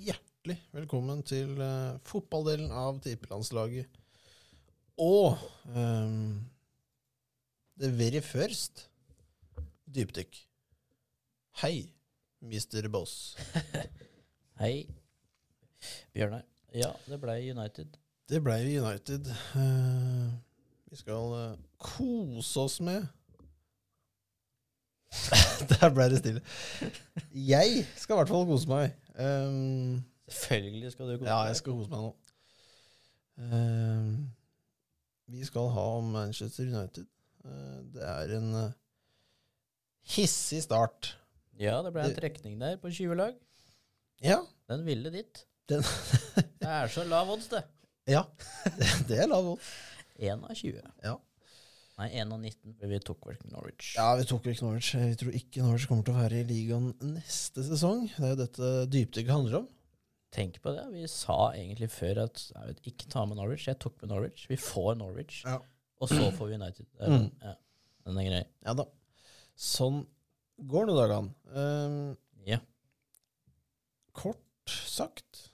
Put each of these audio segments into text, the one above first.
Hjertelig velkommen til eh, fotballdelen av tippelandslaget. Og ehm, det very first dypdykk. Hei, Mr. Boss. Hei. Bjørnar. Ja, det ble United. Det ble United. Eh, vi skal eh, kose oss med Der ble det stille. Jeg skal i hvert fall kose meg. Um, Selvfølgelig skal du gå. Ja, jeg skal kose meg nå. Ehm, vi skal ha om Manchester United. Eh, det er en eh, hissig start. Ja, det ble en Det- trekning der på 20 lag. Ja, Den ville ditt. Den- det er så lav odds, det. det er lav odds. 1 av 20. Ja. Nei, 1 av 19, for vi tok vel ikke Norwich. Ja, vi tok jo ikke Norwich. Vi tror ikke Norwich kommer til å være i ligaen neste sesong. Det er jo dette dypdykket handler om. Tenk på det. Vi sa egentlig før at jeg vet, ikke ta med Norwich. Jeg tok med Norwich. Vi får Norwich, Ja. og så får vi United. Mm. Ja, den er grei. Ja da. Sånn går nå dagene. Ehm, Ja. kort sagt,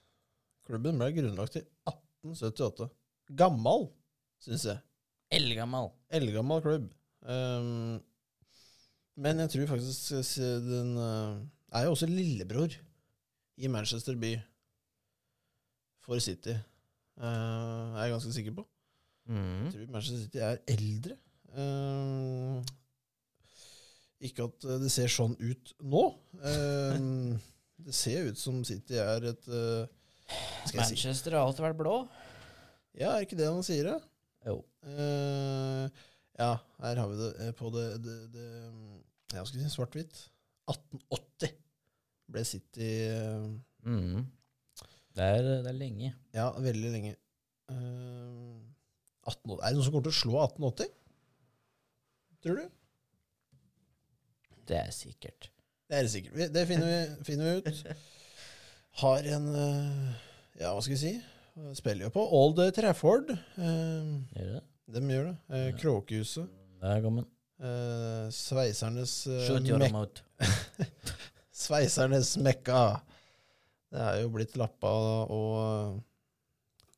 klubben ble grunnlagt i 1878. Gammal, syns jeg. Eldgammal. Eldgammel klubb. Ehm, men jeg tror faktisk s- den eh, er jo også lillebror i Manchester by for City. Eh, er jeg ganske sikker på. Jeg Mm. tror Manchester City er eldre. Ehm, ikke at eh, det ser sånn ut nå. Ehm, det ser ut som City er et eh, Skal jeg si Manchester har alltid vært blå. Ja, er ikke det han sier, da? Jo. Eh, ja, her har vi det eh, på det, det, det mm, Ja, skal vi si svart-hvitt? 1880 ble City eh, Mm. Det, er, det er lenge. Ja, veldig lenge. Eh, 1880. Er det noen som kommer til å slå 1880? Tror du? Det er sikkert. Det er det sikkert. Vi- Det finner vi, finner vi ut. Har en eh, Ja, hva skal vi si? Spiller jo på Old Trafford. Eh, Gjør det? de gjør det. Eh, Ja. Kråkehuset. Der kom den. Eh, sveisernes eh, Shoot your Mekka. mouth. Sveisernes Mekka. Det er jo blitt lappa og eh,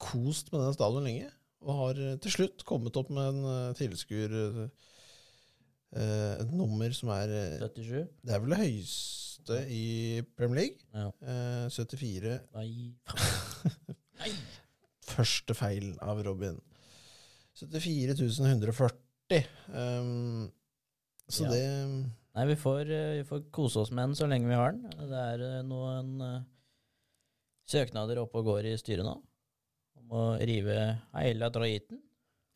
kost med den stadion lenge, og har eh, til slutt kommet opp med en eh, tilskuer eh, eh, Et nummer som er eh, 77. Det er vel det høyeste i Premier League. Ja. Eh, 74. Nei. Nei. Første feil av Robin. 74.140 Um, så Ja. det Nei, vi får, eh, vi får kose oss med den så lenge vi har den. Det er eh, noen eh, søknader oppe og går i styret nå. Om å rive hele draiten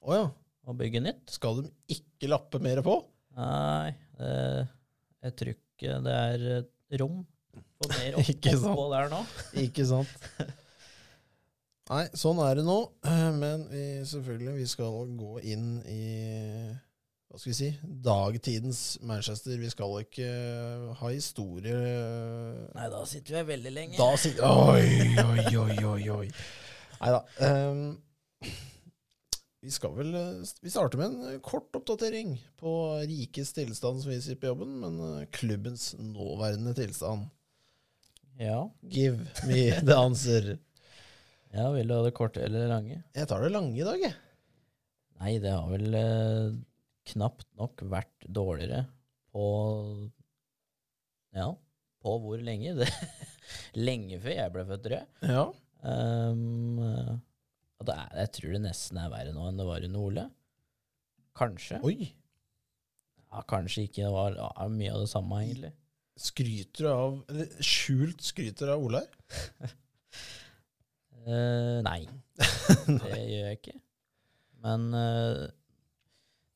Å ja. og bygge nytt. Skal de ikke lappe mer på? Nei, eh, jeg tror ikke det er eh, rom for mer opp, Ikke sant. oppå der nå. Ikke sant? Nei, sånn er det nå. eh, Men vi, selvfølgelig, vi skal gå inn i hva skal vi si, dagtidens Manchester. Vi skal ikke ha historie Nei, da sitter vi her veldig lenge. Da sier Oi, oi, oi, oi, oi. Nei da. Ehm, vi skal vel eh, Vi starter med en eh, kort oppdatering på rikets tilstand, som vi sier på jobben, men eh, klubbens nåværende tilstand. Ja. Give me the answer. ja, vil du ha det korte eller det lange? Jeg tar det lange i dag, jeg. Nei, det har vel eh, knapt nok vært dårligere på Ja, på hvor lenge? Det, lenge før jeg ble født, tror jeg. Ja. Ehm, eh, og det er, jeg tror det nesten er verre nå enn det var under Ole. Kanskje. Oi! Ja, kanskje ikke. Det var ja, mye av det samme, egentlig. Skryter du av eller, Skjult skryter du av Ole her? Eh, nei, det gjør jeg ikke. Men eh,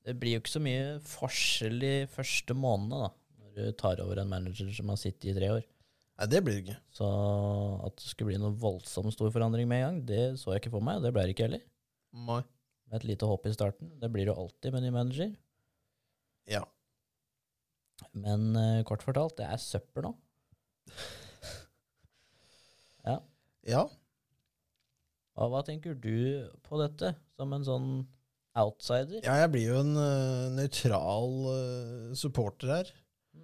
det blir jo ikke så mye forskjell de første månedene, da. Når du tar over en manager som har sittet i tre år. Nei, det blir det ikke. Så at det skulle bli noen voldsomt stor forandring med en gang, det så jeg ikke for meg. og Det ble det ikke heller. Nei. Med et lite håp i starten. Det blir det jo alltid med ny manager. Ja. Men eh, kort fortalt, det er søppel nå. Ja. Hva, hva tenker du på dette, som en sånn outsider? ja, jeg blir jo en eh, nøytral eh, supporter her.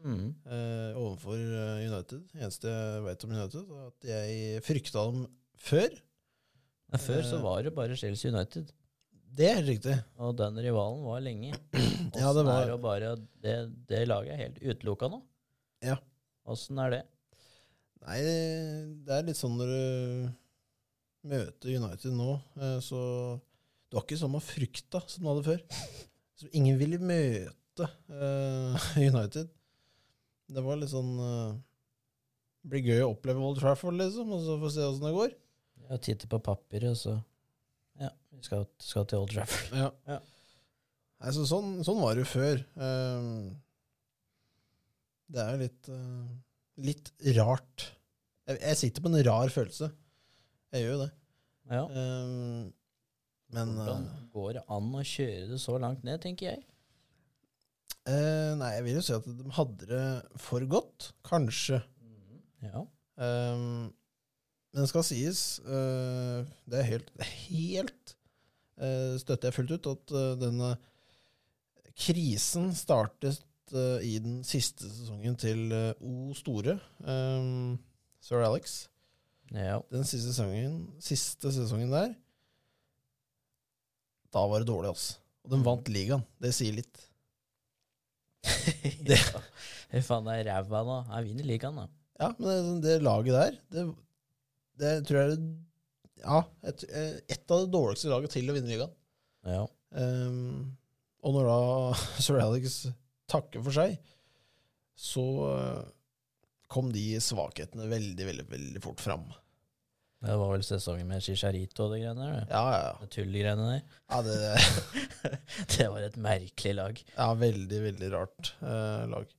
Mm. eh, overfor eh, United. Eneste jeg vet om United, er at jeg frykta dem før. Men Før så Eh. var det bare Chelsea United, Det er helt riktig. og den rivalen var lenge. Ja, det Åssen var- er det å bare Det, det laget er helt utelukka nå. Ja. Åssen er det? Nei, det er litt sånn når du møter United nå, eh, så Du har ikke samme frykta som du hadde før. Så ingen ville møte eh, United. Det var litt sånn eh, det Blir gøy å oppleve Old Trafford, liksom, og så får vi se åssen det går. Jeg titter på papiret, og så Ja, vi skal, skal til Old Trafford. Ja. Ja. Nei, så sånn, sånn var det jo før. Ehm, det er jo litt eh, litt rart. Jeg, jeg sitter på en rar følelse. Jeg gjør jo det. Ja. Ehm, men Hvordan går det an å kjøre det så langt ned, tenker jeg. eh, eh, Nei, jeg vil jo si at de hadde det for godt, kanskje. Ja. Ehm, men det skal sies, eh, det er helt, helt eh, støtter jeg fullt ut, at eh, denne krisen startet eh, i den siste sesongen til eh, O Store, ehm, Sir Alex. ja. Den siste sesongen, siste sesongen der, da var det dårlig, altså. Og de vant ligaen. Det sier litt. det. Fy faen, det er ræva nå. Jeg vinner ligaen, da. Ja, men det, er sånn- det laget der, det, det tror jeg er det- Ja, et, eh, et av det dårligste laget til å vinne ligaen. Ja. Ehm, og når da Sir Alex takker for seg, så eh, kom de svakhetene veldig, veldig veldig fort fram. Det var vel sesongen med Chicharito og de greiene der. det. Ja, ja, ja. Det tullgreiene der. ja det Det var et merkelig lag. er veldig, veldig rart eh, lag.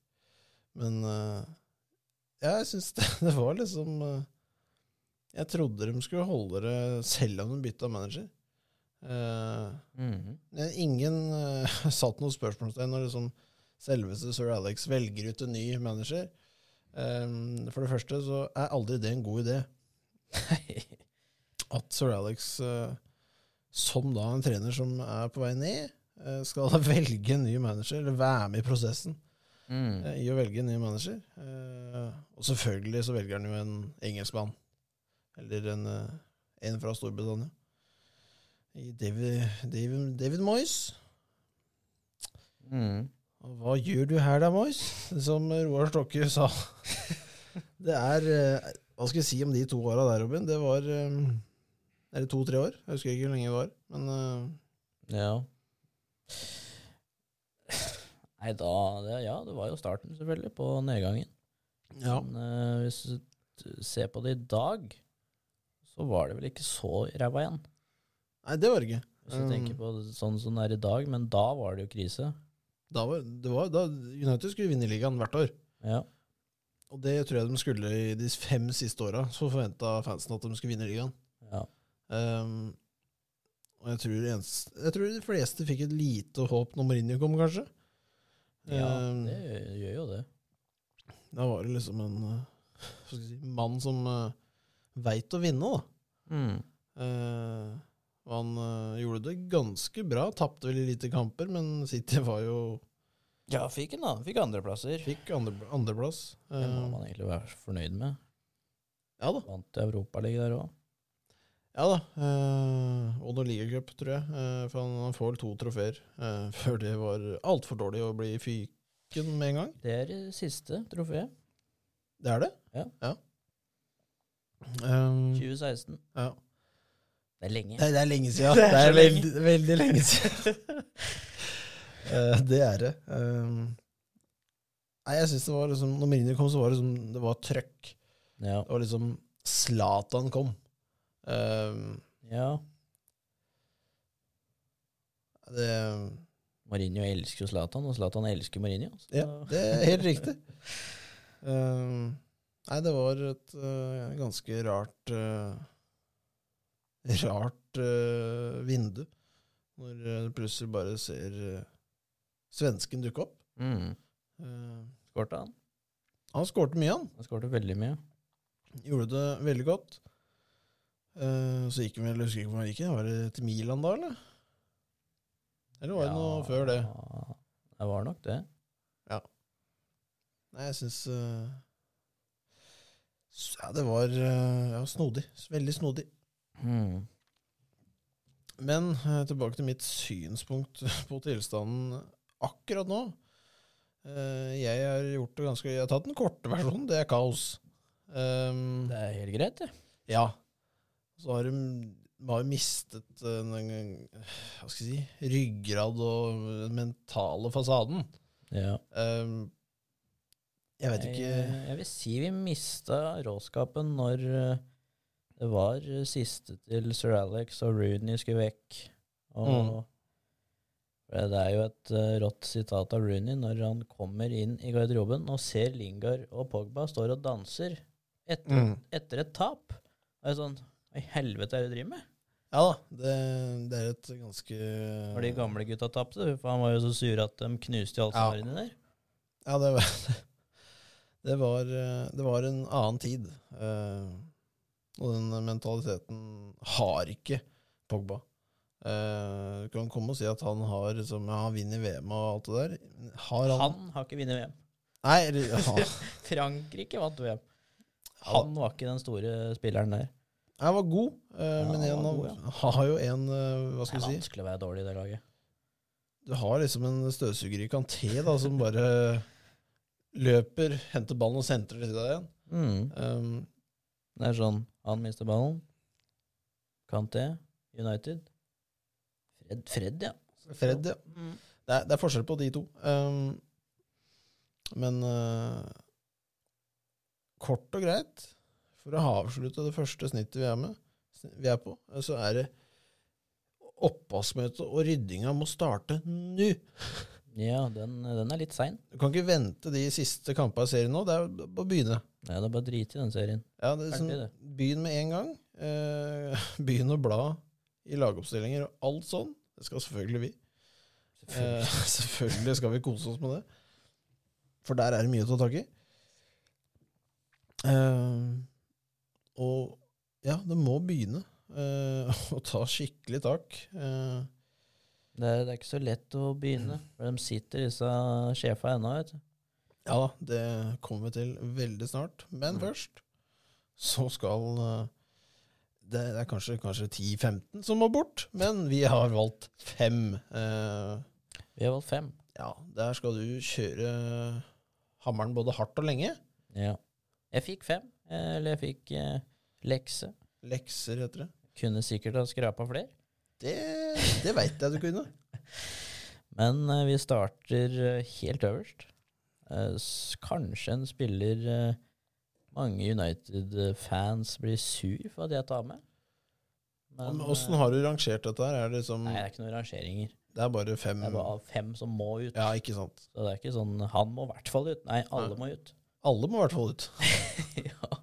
Men eh, ja, jeg syns det, det var liksom eh, Jeg trodde de skulle holde det selv om de bytta manager. Eh, Mhm. Det er Ingen eh, satt noe spørsmålstegn når liksom selveste sir Alex velger ut en ny manager. Ehm, for det første så er aldri det en god idé. At sir Alex, eh, som da en trener som er på vei ned, eh, skal velge en ny manager, eller være med i prosessen Mm. eh, i å velge en ny manager. Eh, og selvfølgelig så velger han jo en engelskmann, eller en, eh, en fra Storbritannia. I David, David, David Moyes. Mm. Og Hva gjør du her da, Mois? Som Roar Stokke sa. Det er eh, Hva skal jeg si om de to åra der, Robin? Det var eh, Eller to-tre år. Jeg husker ikke hvor lenge det var. Men eh, Ja. Nei, da det, Ja, det var jo starten, selvfølgelig, på nedgangen. ja. Men eh, hvis du t- ser på det i dag, så var det vel ikke så ræva igjen. Nei, det var det ikke. Hvis du Mm. tenker på det sånn som det er i dag, men da var det jo krise. Da var, det var, da United skulle vinne ligaen hvert år. Ja. Og det tror jeg de skulle i de fem siste åra. Så forventa fansen at de skulle vinne ligaen. ja. Ehm, og jeg tror, ens- jeg tror de fleste fikk et lite håp når Mourinho kom, kanskje. ja Ehm, det gjør- gjør jo det. Da var det liksom en eh, hva skal jeg si, mann som uh, veit å vinne, da. Mm. Eh, og han eh, gjorde det ganske bra. Tapte veldig lite kamper, men City var jo Ja, fikk en, da. Fikk andreplasser. Fikk andre, andreplass. Det må Eh, man egentlig være fornøyd med. ja da. Vant Europaligaen der òg. Ja da. Eh, og noe ligacup, tror jeg. Eh, for han, han får vel to trofeer eh, før det var altfor dårlig å bli fyken med en gang. Det er det siste trofeet. Det er det? Ja. Eh, 2016. ja. Det er lenge. Nei, det er lenge siden. Det Det er er, så lenge. veldig, veldig lenge siden. Eh, det er det. Um, nei, jeg synes det var liksom Når Mourinho kom, så var det liksom Det var trøkk. Ja. Det var liksom Zlatan kom. Um, ja. det, Mourinho elsker jo Zlatan, og Zlatan elsker Mourinho. så- ja, det er helt riktig. Um, nei, det var et eh, ganske rart eh, Rart eh, vindu. Når eh, du plutselig bare ser eh, svensken dukke opp. Mm. Eh, Skårte han? Han skårte mye, han. Han skårte veldig mye. Gjorde det veldig godt. Eh, så gikk han vel, jeg husker ikke hvor han gikk, var det til Milan da, eller? Eller var det noe før det? Det var nok det. Nei, jeg syns Ja, det var eh, ja, snodig. Veldig snodig. Mm. Men eh, tilbake til mitt synspunkt på tilstanden akkurat nå. Eh, Jeg har gjort det ganske Jeg har tatt den korte versjonen. Det er kaos. Um, Det er helt greit, det. Ja. Så har de, de har jo mistet eh, en, en, hva skal jeg si, ryggrad og den mentale fasaden. Ja. Ehm, jeg vet Jeg, ikke jeg vil si vi mista råskapen når eh, det var eh, siste til sir Alex og Rooney skulle vekk. Og Mm. For Det er jo et eh, rått sitat av Rooney når han kommer inn i garderoben og ser Lingard og Pogba står og danser etter, Mm. etter et tap. Det er sånn Hva i helvete er det du driver med? Ja da, det, det er et ganske Når de gamle gutta tapte, for han var jo så sure at de knuste jo Ja. alle ja. der. Ja, det var, det var eh, Det var en annen tid. eh, og den mentaliteten har ikke Pogba. Eh, du kan komme og si at han har liksom, ja, han vinner VM og alt det der. Har han, Han har ikke vunnet VM. Nei, eller, han, Frankrike vant VM. Han var ikke den store spilleren der. Jeg var god, eh, men han igjen, var han god, har jo en eh, Hva Det skal er vi si? vanskelig å være dårlig i det laget. Du har liksom en støvsuger i kanté da, som bare løper, henter ballen og sentrer til deg igjen. Um, Mm. Det er sånn Han mister ballen. Kanté, United. Fred, Fred ja. Fred, ja. Mm. Det er, det er forskjell på de to. Um, men eh, kort og greit, for å avslutte det første snittet vi er, med, vi er på, eh, så er det oppvaskmøtet og ryddinga må starte nå. Ja, den, den er litt sein. Du kan ikke vente de siste kampene i serien nå. Det er å begynne. Nei, det er bare drit i den serien. Ja, det er Ferdig, sånn, Begynn med en gang. Eh, begynn å bla i lagoppstillinger og alt sånn. Det skal selvfølgelig vi. Eh, selvfølgelig skal vi kose oss med det. For der er det mye å ta tak i. Eh, og ja, det må begynne eh, å ta skikkelig tak. Eh, Det er, det er ikke så lett å begynne. For de sitter, disse sjefa ennå, vet du. ja da, det kommer vi til veldig snart. Men Mm. først så skal eh, det det er kanskje, kanskje 10-15 som må bort, men vi har valgt fem. Eh, Vi har valgt fem. ja, der skal du kjøre hammeren både hardt og lenge. Ja. Jeg fikk fem. eh, Eller jeg fikk eh, lekse. Lekser, heter det. Kunne sikkert ha skrapa flere. Det, det veit jeg du kunne. Men eh, vi starter eh, helt øverst. Eh, s- kanskje en spiller eh, mange United-fans blir sur for at jeg tar med. Men, Men Åssen eh, har du rangert dette her? Er det liksom Nei, det er ikke noen rangeringer. Det er bare fem Det er bare av fem som må ut. Mm. Ja, ikke sant. Så det er ikke sånn Han må i hvert fall ut. Nei, alle Nei. må ut. Alle må i hvert fall ut. ja.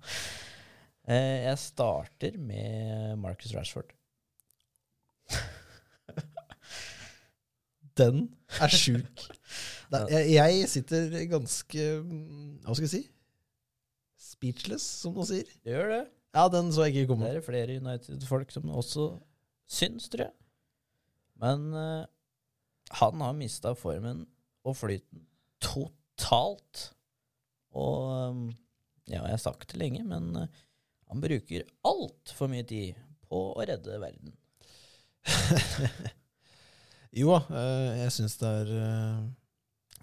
Eh, jeg starter med Marcus Rashford. Den er sjuk. Det er- jeg, jeg sitter ganske mm, Hva skal jeg si? Speechless, som de sier. Gjør det. Ja, den så jeg ikke Det komme. er det flere United-folk som også syns, tror jeg. Men eh, han har mista formen og flyten totalt. Og eh, ja, jeg har sagt det lenge, men eh, han bruker altfor mye tid på å redde verden. Jo da, eh, jeg syns det er eh,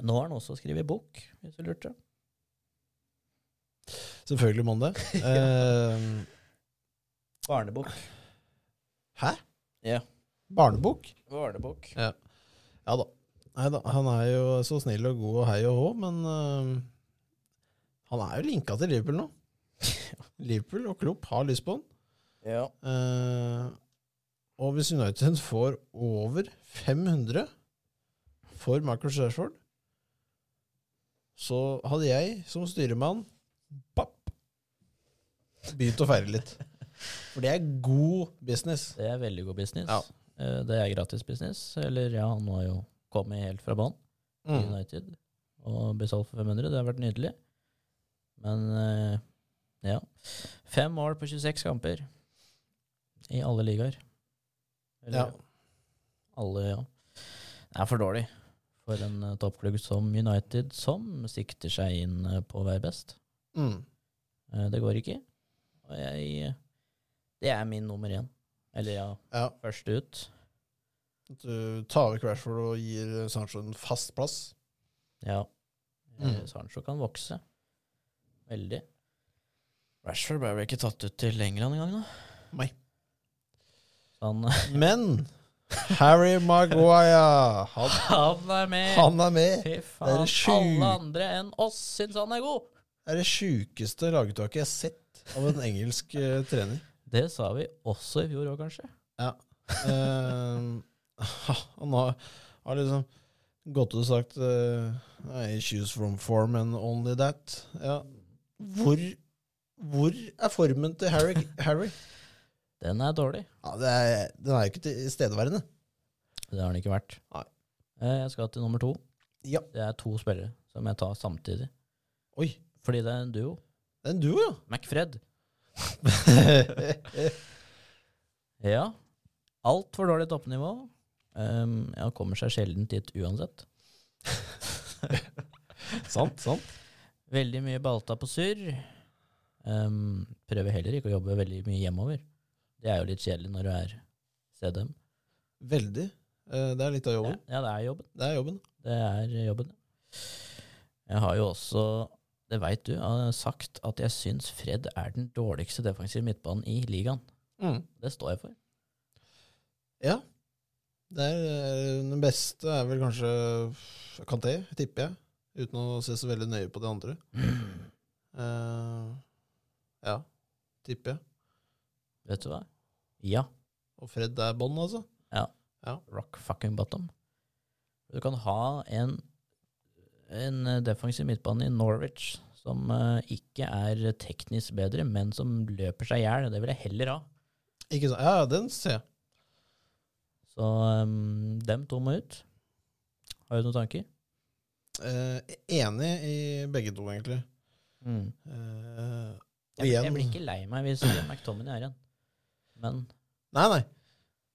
Nå har han også skrevet bok, hvis du lurte. Selvfølgelig må han det. Eh, Barnebok. Hæ? Ja. Barnebok? Barnebok. Ja da. Nei da, han er jo så snill og god og hei og hå, men eh, han er jo linka til Liverpool nå. Liverpool og Klopp har lyst på han. Ja. Eh, og hvis United får over 500 for Michael Rashford, så hadde jeg som styremann papp, begynt å feire litt. For det er god business. Det er veldig god business. Ja. Eh, Det er gratis business. Eller ja, han har jo kommet helt fra bånn. i Mm. United og ble solgt for 500. Det har vært nydelig. Men eh, ja. Fem mål på 26 kamper i alle ligaer. Ja. Eller alle, ja. Det er for dårlig. for en eh, toppklubb som United, som sikter seg inn eh, på å være best. Mm. Eh, Det går ikke. Og jeg eh, Det er min nummer én. Eller ja, Ja. første ut. Du tar over Crashford og gir Sancho en fast plass. Ja. Mm. Eh, Sancho kan vokse. Veldig. Rashford ble vel ikke tatt ut til England engang, da? Nei. Så Han, Men Harry Maguire, han, han er med! han er med. Fy Det er faen, det sju- alle andre enn oss syns han er god! Det er det sjukeste laguttaket jeg har sett av en engelsk eh, trener. Det sa vi også i fjor òg, kanskje. Ehm, han har, har liksom gått ut og sagt eh, I choose from form and only that. Ja. Hvor, hvor er formen til Harry? Harry? Den er dårlig. Ja, det er, den er jo ikke tilstedeværende. Det har den ikke vært. Nei. Eh, Jeg skal til nummer to. Ja. Det er to spillere som jeg tar samtidig. Oi, Fordi det er en duo. det er en duo, ja. McFred. Ja. Altfor dårlig toppnivå. Um, ja, kommer seg sjelden dit uansett. sant, sant. Veldig mye balta på surr. Um, prøver heller ikke å jobbe veldig mye hjemover. Det er jo litt kjedelig når du er CDM. Veldig. Eh, det er litt av Ja, jobben. ja, det er jobben. Det er jobben. Det er jobben. Jeg har jo også, det veit du, eh, sagt at jeg syns Fred er den dårligste defensive midtbanen i ligaen. Mm. Det står jeg for. Ja. Det er, eh, den beste er vel kanskje Kanté, tipper jeg. Uten å se så veldig nøye på de andre. Eh, ja, tipper jeg. Vet du hva? Ja. Og Fred er bånn, altså. rock fucking bottom. Du kan ha en, en defensiv midtbane i Norwich som eh, ikke er teknisk bedre, men som løper seg i hjel. Det vil jeg heller ha. Ikke sant? Ja, ja, den ser jeg. Så um, dem to må ut. Har du noen tanker? Eh, enig i begge to, egentlig. Mm. Eh, og Jeg, jeg igjen- blir ikke lei meg hvis McTominay er igjen. Men Nei, nei.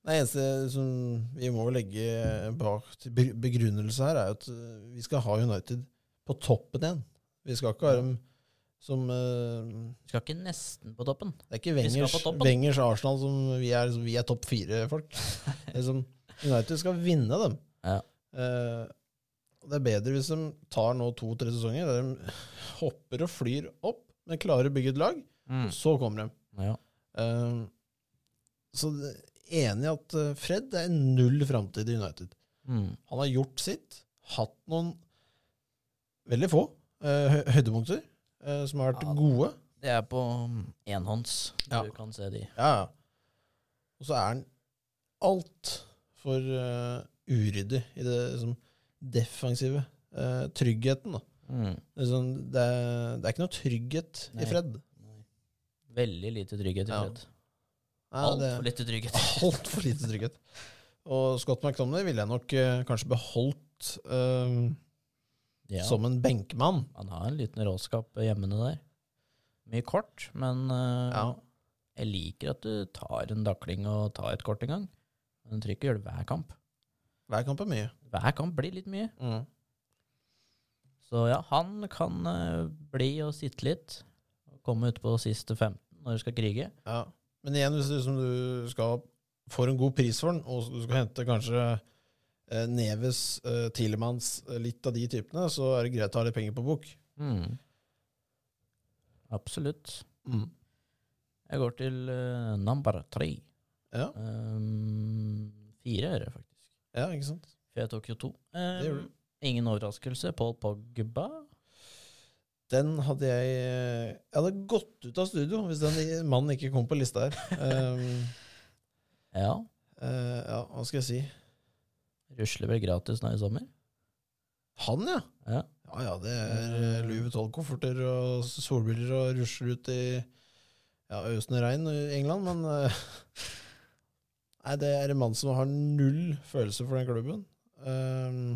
Det eneste som vi må legge bak til be- begrunnelse her, er jo at eh, vi skal ha United på toppen igjen. Vi skal ikke ha dem som eh, du skal ikke nesten på toppen. Det er ikke Vi skal Wengers, på toppen. Wengers Arsenal som vi er, liksom, vi er topp fire-folk. Liksom, United skal vinne dem. Ja. Eh, og det er bedre hvis de tar nå to-tre sesonger der de hopper og flyr opp, men klarer å bygge et lag. Mm. Så kommer de. Ja. Eh, så det, enig i at eh, Fred det er null framtid i United. Mm. Han har gjort sitt, hatt noen veldig få eh, hø- høydepunkter eh, som har vært Ja. gode. Det er på mm, enhånds. Ja. Du kan se de. Ja, ja. Og så er han altfor uh, uryddig i det liksom, defensive. eh, tryggheten, da. Mm. Det er sånn- det, er, det er ikke noe trygghet Nei. i Fred. Veldig lite trygghet i Ja. Fred. Nei, det- Altfor lite trygghet. Altfor lite trygghet. Og Scott McTomney ville jeg nok eh, kanskje beholdt eh, Ja, som en benkmann. han har en liten råskap hjemmene der. Mye kort, men eh, Ja. jeg liker at du tar en dakling og tar et kort en gang. Men du trenger ikke gjøre det hver kamp. Hver kamp er mye. Hver kamp blir litt mye. Mm. Så ja, han kan eh, bli og sitte litt. og Komme ut på siste 15 når du skal krige. Ja. Men igjen, hvis du, liksom, du skal får en god pris for den, og du skal hente kanskje eh, Neves, eh, Tilemans, eh, litt av de typene, så er det greit å ha litt penger på bok. Mm. Absolutt. Jeg går til uh, number tre. Ja. Um, fire, er det faktisk. ja, ikke sant? For jeg tok jo to. Det gjorde Um, ingen overraskelse. Paul Pogba. Den hadde jeg eh, Jeg hadde gått ut av studio hvis den i- mannen ikke kom på lista her. Um, Ja. eh, ja, hva skal jeg si? Rusler vel gratis nå i sommer. Han, ja! Ja. Ja ja, det er eh, Louis Vuitton-kofferter og solbriller og rusler ut i ja, øsende regn i England, men eh, Nei, det er en mann som har null følelse for den klubben. Ehm,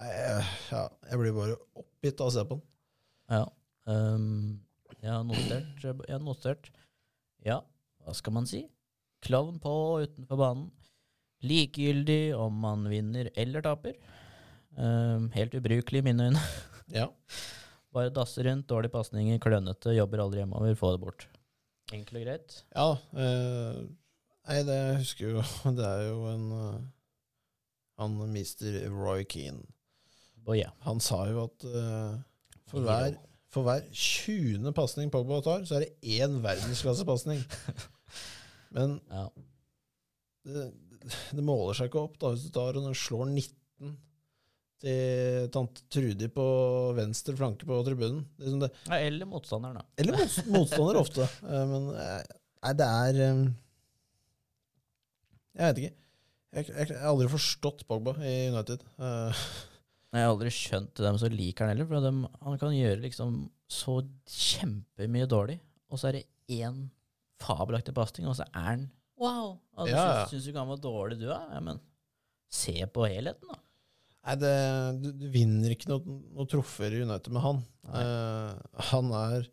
nei, jeg- ja, jeg blir bare oppgitt av å se på den. ja. Um, jeg har notert. Jeg har notert. Ja, hva skal man si? Klovn på utenfor banen. Likegyldig om man vinner eller taper. Ehm, helt ubrukelig i mine øyne. Ja. Bare dasse rundt, dårlige pasninger, klønete, jobber aldri hjemover, få det bort. Enkelt og greit. Ja, eh, nei, det jeg husker jo Det er jo en eh, Han mister Roy Keane. Og ja. Han sa jo at eh, for, hver, for hver 20. pasning Pogba tar, så er det én verdensklassepasning. Men Ja. det, det måler seg ikke opp da hvis du tar og den slår 19 til tante Trudi på venstre flanke på tribunen. Det er sånn det, Ja, eller motstanderen, da. eller mots- motstander ofte. Eh, Men eh, nei, det er eh, Jeg vet ikke. Jeg, jeg, jeg har aldri forstått Pogba i United. Eh, Jeg har aldri skjønt dem som liker han heller, for dem, han kan gjøre liksom så kjempemye dårlig, og så er det én fabelaktig pasning, og så er han Wow! Og du Ja, ja. syns, syns du ikke han var dårlig, du, da? Ja, men se på helheten, da. Nei, det, du, du vinner ikke noen noe trofeer i United med han. Eh, han er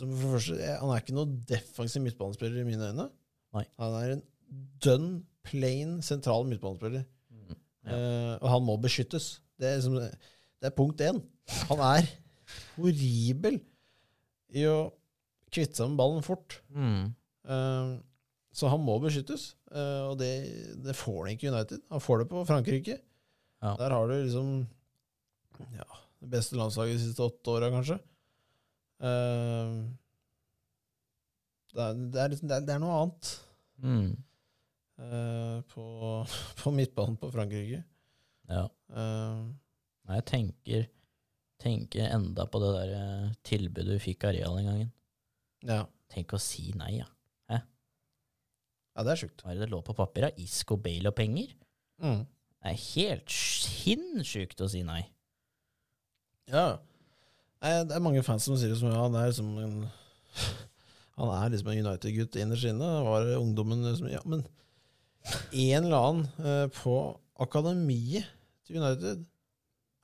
som for det første, eh, Han er ikke noen defensiv midtbanespiller i mine øyne. Nei. Han er en dønn, plain, sentral midtbanespiller. Mm, Ja. Eh, og han må beskyttes. Det er, liksom, det er punkt én. Han er horribel i å kvitte seg med ballen fort. Mm. Eh, Så han må beskyttes, eh, og det, det får han ikke i United. Han får det på Frankrike. Ja. Der har du liksom ja, det beste landslaget de siste åtte åra, kanskje. Eh, Det er, det, er, liksom- det, er, det er noe annet Mm. eh, på, på midtbanen på Frankrike. Ja. Eh, Nei, jeg tenker, tenker enda på det der eh, tilbudet vi fikk av Real den gangen. ja. Tenk å si nei, ja. ja, det er sjukt. Hva er det det lå på papiret? Isco, Bale og penger? Mm. Det er helt sinnssykt å si nei. Ja. Nei, det er mange fans som sier som, ja, han er liksom en Han er liksom en United-gutt innerst inne. Han Var ungdommen liksom, Ja, men en eller annen eh, på akademiet til United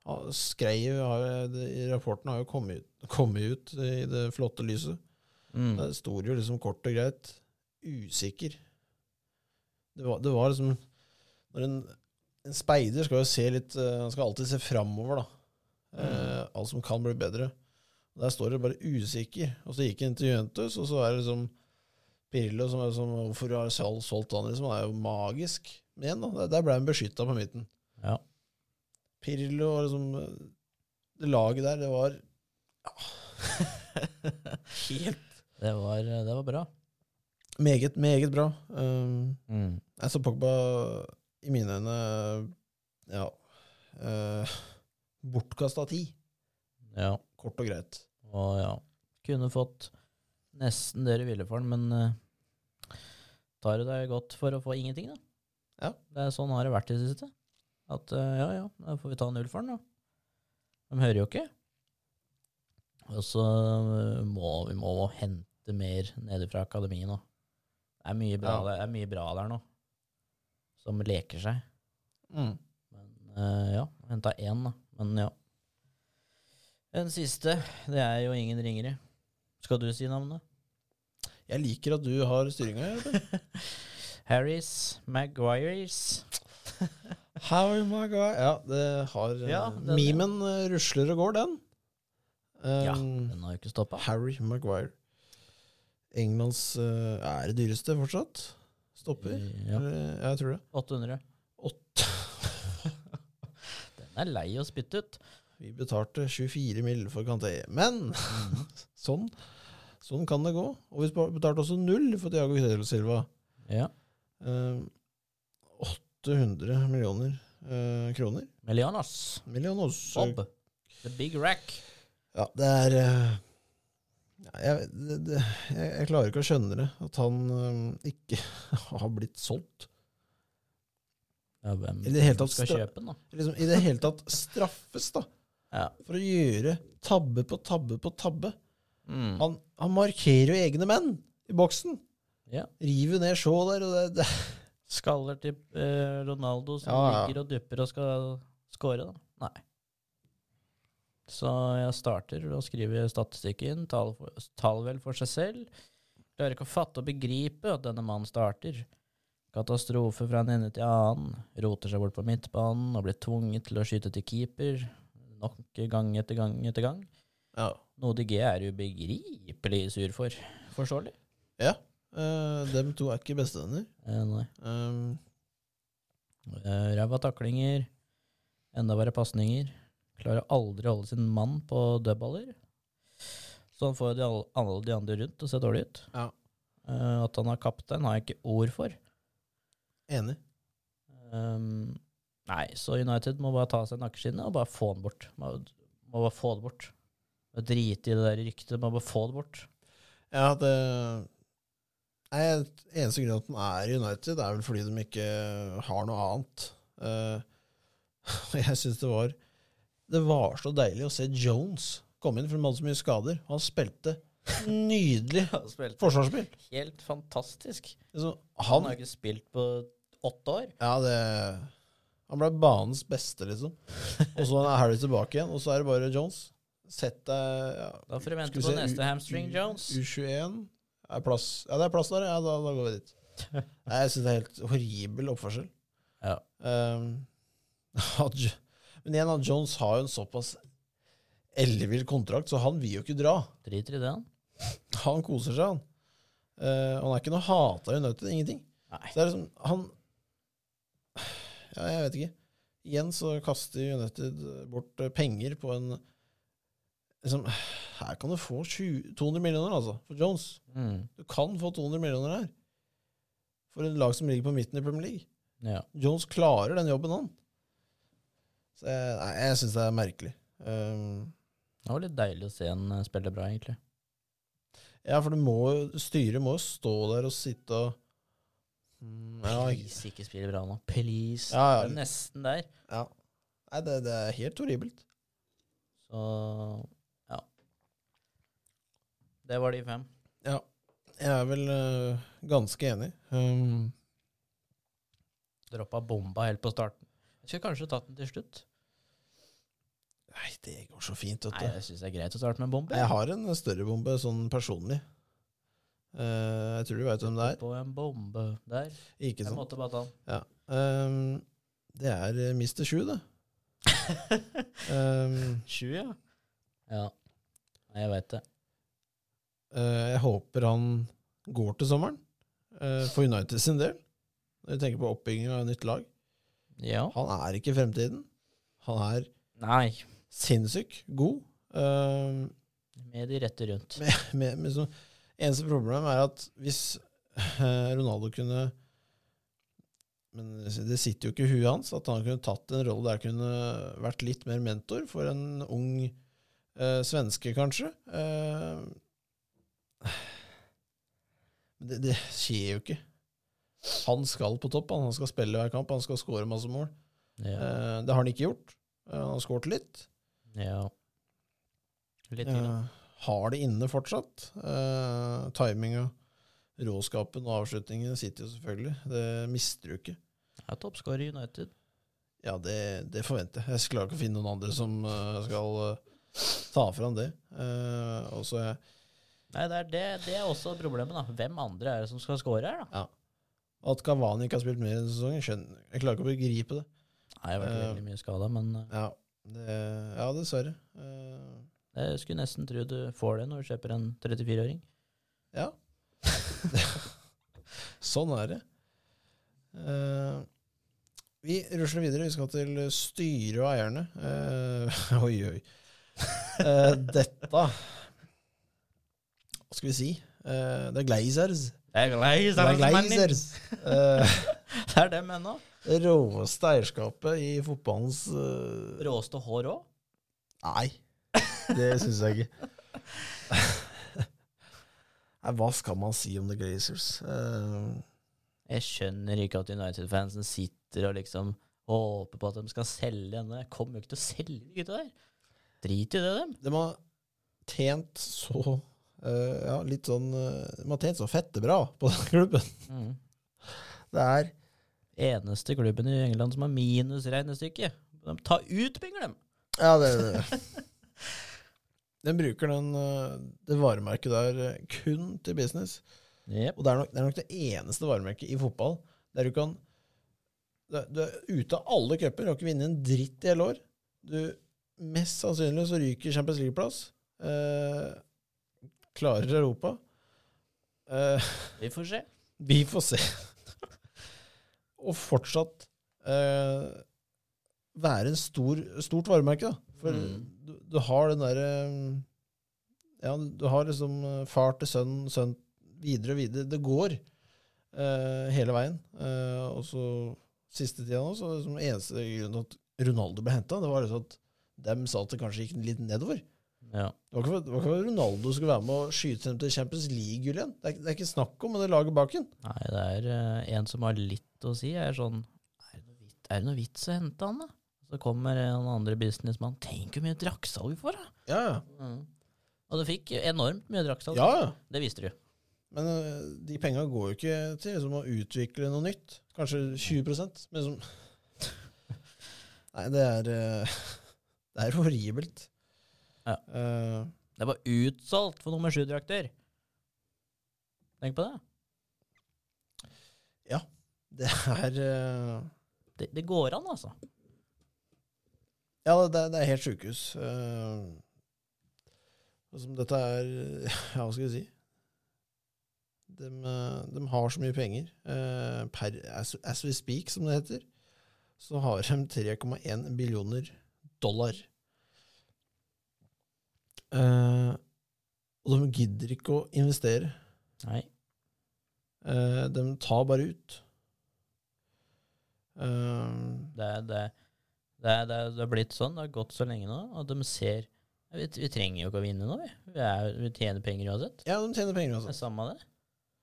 han skrev har, det, i Rapporten har jo kommet ut, kommet ut i det flotte lyset. Mm. Der sto det jo liksom kort og greit 'usikker'. Det var, det var liksom når en, en speider skal jo se litt eh, Han skal alltid se framover, da. Eh, Mm. alt som kan bli bedre. Og Der står det bare 'usikker'. Og så gikk han til Juventus, og så er det liksom Pirlo som er som Hvorfor har Sal solgt han? Liksom, han er jo magisk. Men igjen, da, der- der ble han beskytta på midten. Ja. Pirlo og liksom eh, Det laget der, det var ja, Helt Det var, eh, det var bra. Meget, meget bra. Um, Mm. altså Pogba, i mine øyne, ja uh, Bortkasta ti, Ja, kort og greit. og ja. Kunne fått nesten det du ville for den, men eh, tar du deg godt for å få ingenting, da? Ja. Det er sånn har det vært i det siste. At eh, ja, ja, da får vi ta null for den, da. De hører jo ikke. Og så eh, må vi må hente mer nede fra akademiet nå. Det er mye bra, Ja. det er mye bra der nå, som leker seg. Mm. Men eh, ja, henta én, da. Men ja. Den siste, det er jo ingen ringere. Skal du si navnet? Jeg liker at du har styringa. Harris Maguires. How my God. Ja, det har eh, Ja, den- Memen eh, rusler og går, den. Ja, Um, den har jo ikke stoppa. Harry Maguire. Englands eh, er det dyreste fortsatt. Stopper. Ja, Eller, ja, jeg tror det. 800. Åtte. Den er lei å spytte ut. Vi betalte 24 mill. for Kanté. Men sånn, sånn kan det gå. Og vi spar- betalte også null for Diago Cedro Silva. Ja. Eh, 800 millioner eh, kroner. Melianas. Millioner. Bob. The Big Rack. Ja, det er eh, ja, jeg, det, det, jeg, jeg klarer ikke å skjønne det. At han eh, ikke har blitt solgt. Ja, hvem I det hele tatt skal stra- kjøpe den, da? Liksom, I det hele tatt straffes, da. Ja. For å gjøre tabbe på tabbe på tabbe. Mm. Han, han markerer jo egne menn i boksen. Ja. River ned sjå der, og det, det Skaller til eh, Ronaldo som Ja, ja. ligger og dupper og skal score, da? Nei. Så jeg starter å skrive statistikken, tall, for, tall vel for seg selv. Klarer ikke å fatte og begripe at denne mannen starter. Katastrofe fra en ende til annen. Roter seg bort på midtbanen og blir tvunget til å skyte til keeper. Nok gang etter gang etter gang. Ja. Noe DG er ubegripelig sur for. Forståelig? Eh, dem to er ikke bestevenner. Eh, nei. Um, Eh, Ræva taklinger. Enda verre pasninger. Klarer aldri å holde sin mann på dødballer. Så han får de, all- alle de andre rundt til å se dårlig ut. Ja. Eh, at han er kaptein, har jeg ikke ord for. enig. Ehm, nei, så United må bare ta seg nakkeskinnet og bare få den bort. Må, må bare få det bort. Bare Drite i det der ryktet, må bare få det bort. Ja, det Nei, Eneste grunnen til at den er i United, er vel fordi de ikke har noe annet. Eh, Og jeg syns det var Det var så deilig å se Jones komme inn, for de hadde så mye skader. Han spilte nydelig Han spilte forsvarsspill. helt fantastisk. Liksom, Han han har ikke spilt på åtte år. Ja, det Han ble banens beste, liksom. Og så er Harry tilbake igjen, og så er det bare Jones. Sett deg ja, Da får vi Skal vente vi på se, neste U- hamstring, U- Jones. U21 er plass. Ja, det er plass der, ja. Da, da går vi dit. Nei, jeg syns det er helt horribel oppførsel. Ja. Ehm, at Jo- men igjen, at Jones har jo en såpass ellevill kontrakt, så han vil jo ikke dra. Driter i det, han. Han koser seg, han. Eh, han er ikke noe hata i United, ingenting. Nei. Så det er liksom, han Ja, jeg vet ikke. Igjen så kaster United bort eh, penger på en liksom, Her kan du få 20, 200 millioner, altså, for Jones. Mm. Du kan få 200 millioner her. For et lag som ligger på midten i Premier League. Ja. Jones klarer den jobben, han. Så jeg, nei, jeg syns det er merkelig. Um, Det var litt deilig å se han eh, spille bra, egentlig. ja, for det må, jo- styret må jo stå der og sitte og Mm, ja, ikke- Please, ikke spille bra nå. Please. Ja, ja. Det er nesten der. ja. Nei, det, det er helt horribelt. Så ja. Det var de fem. Ja, jeg er vel eh, ganske enig. Um, Droppa bomba helt på starten. Jeg skulle kanskje tatt den til slutt. nei, det går så fint, vet du. Nei, jeg syns det er greit å starte med en bombe. Jeg har en større bombe, sånn personlig. Eh, jeg tror du veit hvem det er. På en bombe der. Ikke Jeg sant? måtte bare ta den. Ehm, det er eh, Mr. 7, det. Ehm, Sju, ja. Ja. Nei, jeg veit det. eh, jeg håper han går til sommeren, eh, for United sin del. Når vi tenker på oppbygging av et nytt lag. Ja. Han er ikke fremtiden. Han er Nei. sinnssyk god. Ehm, Med de rette rundt. Men- med, med sånn, eneste problemet er at hvis eh, Ronaldo kunne Men det sitter jo ikke i huet hans at han kunne tatt en rolle der han kunne vært litt mer mentor for en ung eh, svenske, kanskje. Eh, men det, det skjer jo ikke. Han skal på topp, han. han skal spille hver kamp, han skal skåre masse mål. Ja. Eh, det har han ikke gjort. Eh, han har skåret litt. ja. Litt til. da. Eh, har det inne fortsatt. Eh, Timinga, råskapen og avslutningen sitter jo selvfølgelig. Det mister du ikke. Ja, Toppscorer i United. Ja, det, det forventer jeg. Jeg klarer ikke å finne noen andre som eh, skal eh, ta fram det. Eh, og så er jeg- Nei, det er, det, det er også problemet, da. Hvem andre er det som skal score her, da? at Kavani ikke har spilt mer i sesongen, skjønner jeg. klarer ikke å begripe det. Nei, jeg har vært veldig mye skada, men eh, Ja, det, ja dessverre. Eh, jeg skulle nesten tro du får det når du kjøper en 34-åring. Ja. sånn er det. Eh, vi rusler videre. Vi skal til styret og eierne. Eh, oi, oi. Eh, dette Hva skal vi si? Eh, det er Glazers. Det er Det er Glazers! Glazers. Eh, Det er dem ennå. det råeste eierskapet i fotballens eh, Råeste hår òg. Nei, det syns jeg ikke. Nei, hva skal man si om The Glazers? Eh, Jeg skjønner ikke at United-fansen sitter og liksom håper på at de skal selge henne. Jeg kommer jo ikke til å selge de gutta der. Drit i det, dem. De har tjent så eh, Ja, litt sånn eh, De har tjent så fette bra på den klubben. Mm. Det er Eneste klubben i England som har minus regnestykke. De tar ut penger, dem. Ja, det, det. Den bruker den, eh, det varemerket der eh, kun til business. Jep. Og det er nok det, er nok det eneste varemerket i fotball Der du kan Du er- du er ute av alle cuper, du har ikke vunnet en dritt i hele år. Du, mest sannsynlig så ryker Champions League-plass. Eh, klarer Europa. Eh, Vi får se. vi får se. og fortsatt eh, være en stor, stort varemerke, da. For Mm. du, du har den derre eh, Ja, du har liksom eh, far til sønn, sønn videre og videre. Det går eh, hele veien. Eh, og så siste tida nå, så liksom eneste grunnen til at Ronaldo ble henta, det var liksom at dem sa at det kanskje gikk litt nedover. Ja. Det var ikke for- det var ikke for Ronaldo skulle være med og skyte dem til Champions League-gull igjen. Det er, ikke- det er ikke snakk om, men det laget bak ham. Nei, det er eh, en som har litt å si, er sånn Er det noe vits, er det noe vits å hente han, da? Så kommer en andre businessmann. Tenk hvor mye drakksalg vi får, da! Ja, ja. Og du fikk enormt mye drakksalg. Ja, ja. Det visste du. Men øh, de penga går jo ikke til liksom, å utvikle noe nytt. Kanskje 20 men liksom Nei, det er øh, Det er horribelt. Ja. Eh, Det var utsolgt for nummer sju-drakter. Tenk på det. det er øh, det. Det går an, altså. Ja, det, er- det er helt sjukehus. Eh, altså, dette er Ja, hva skal vi si? De, har så mye penger. eh, per, as, as we speak, som det heter, så har de 3,1 billioner dollar. Eh, og de gidder ikke å investere. Nei. Eh, de tar bare ut. Eh, Det, er- det, det, er- det, er- det har blitt sånn, det har gått så lenge nå, at de ser vi, vi trenger jo ikke å vinne nå, vi. Vi, er, vi tjener penger uansett. ja, de tjener penger, Det altså. er samme det.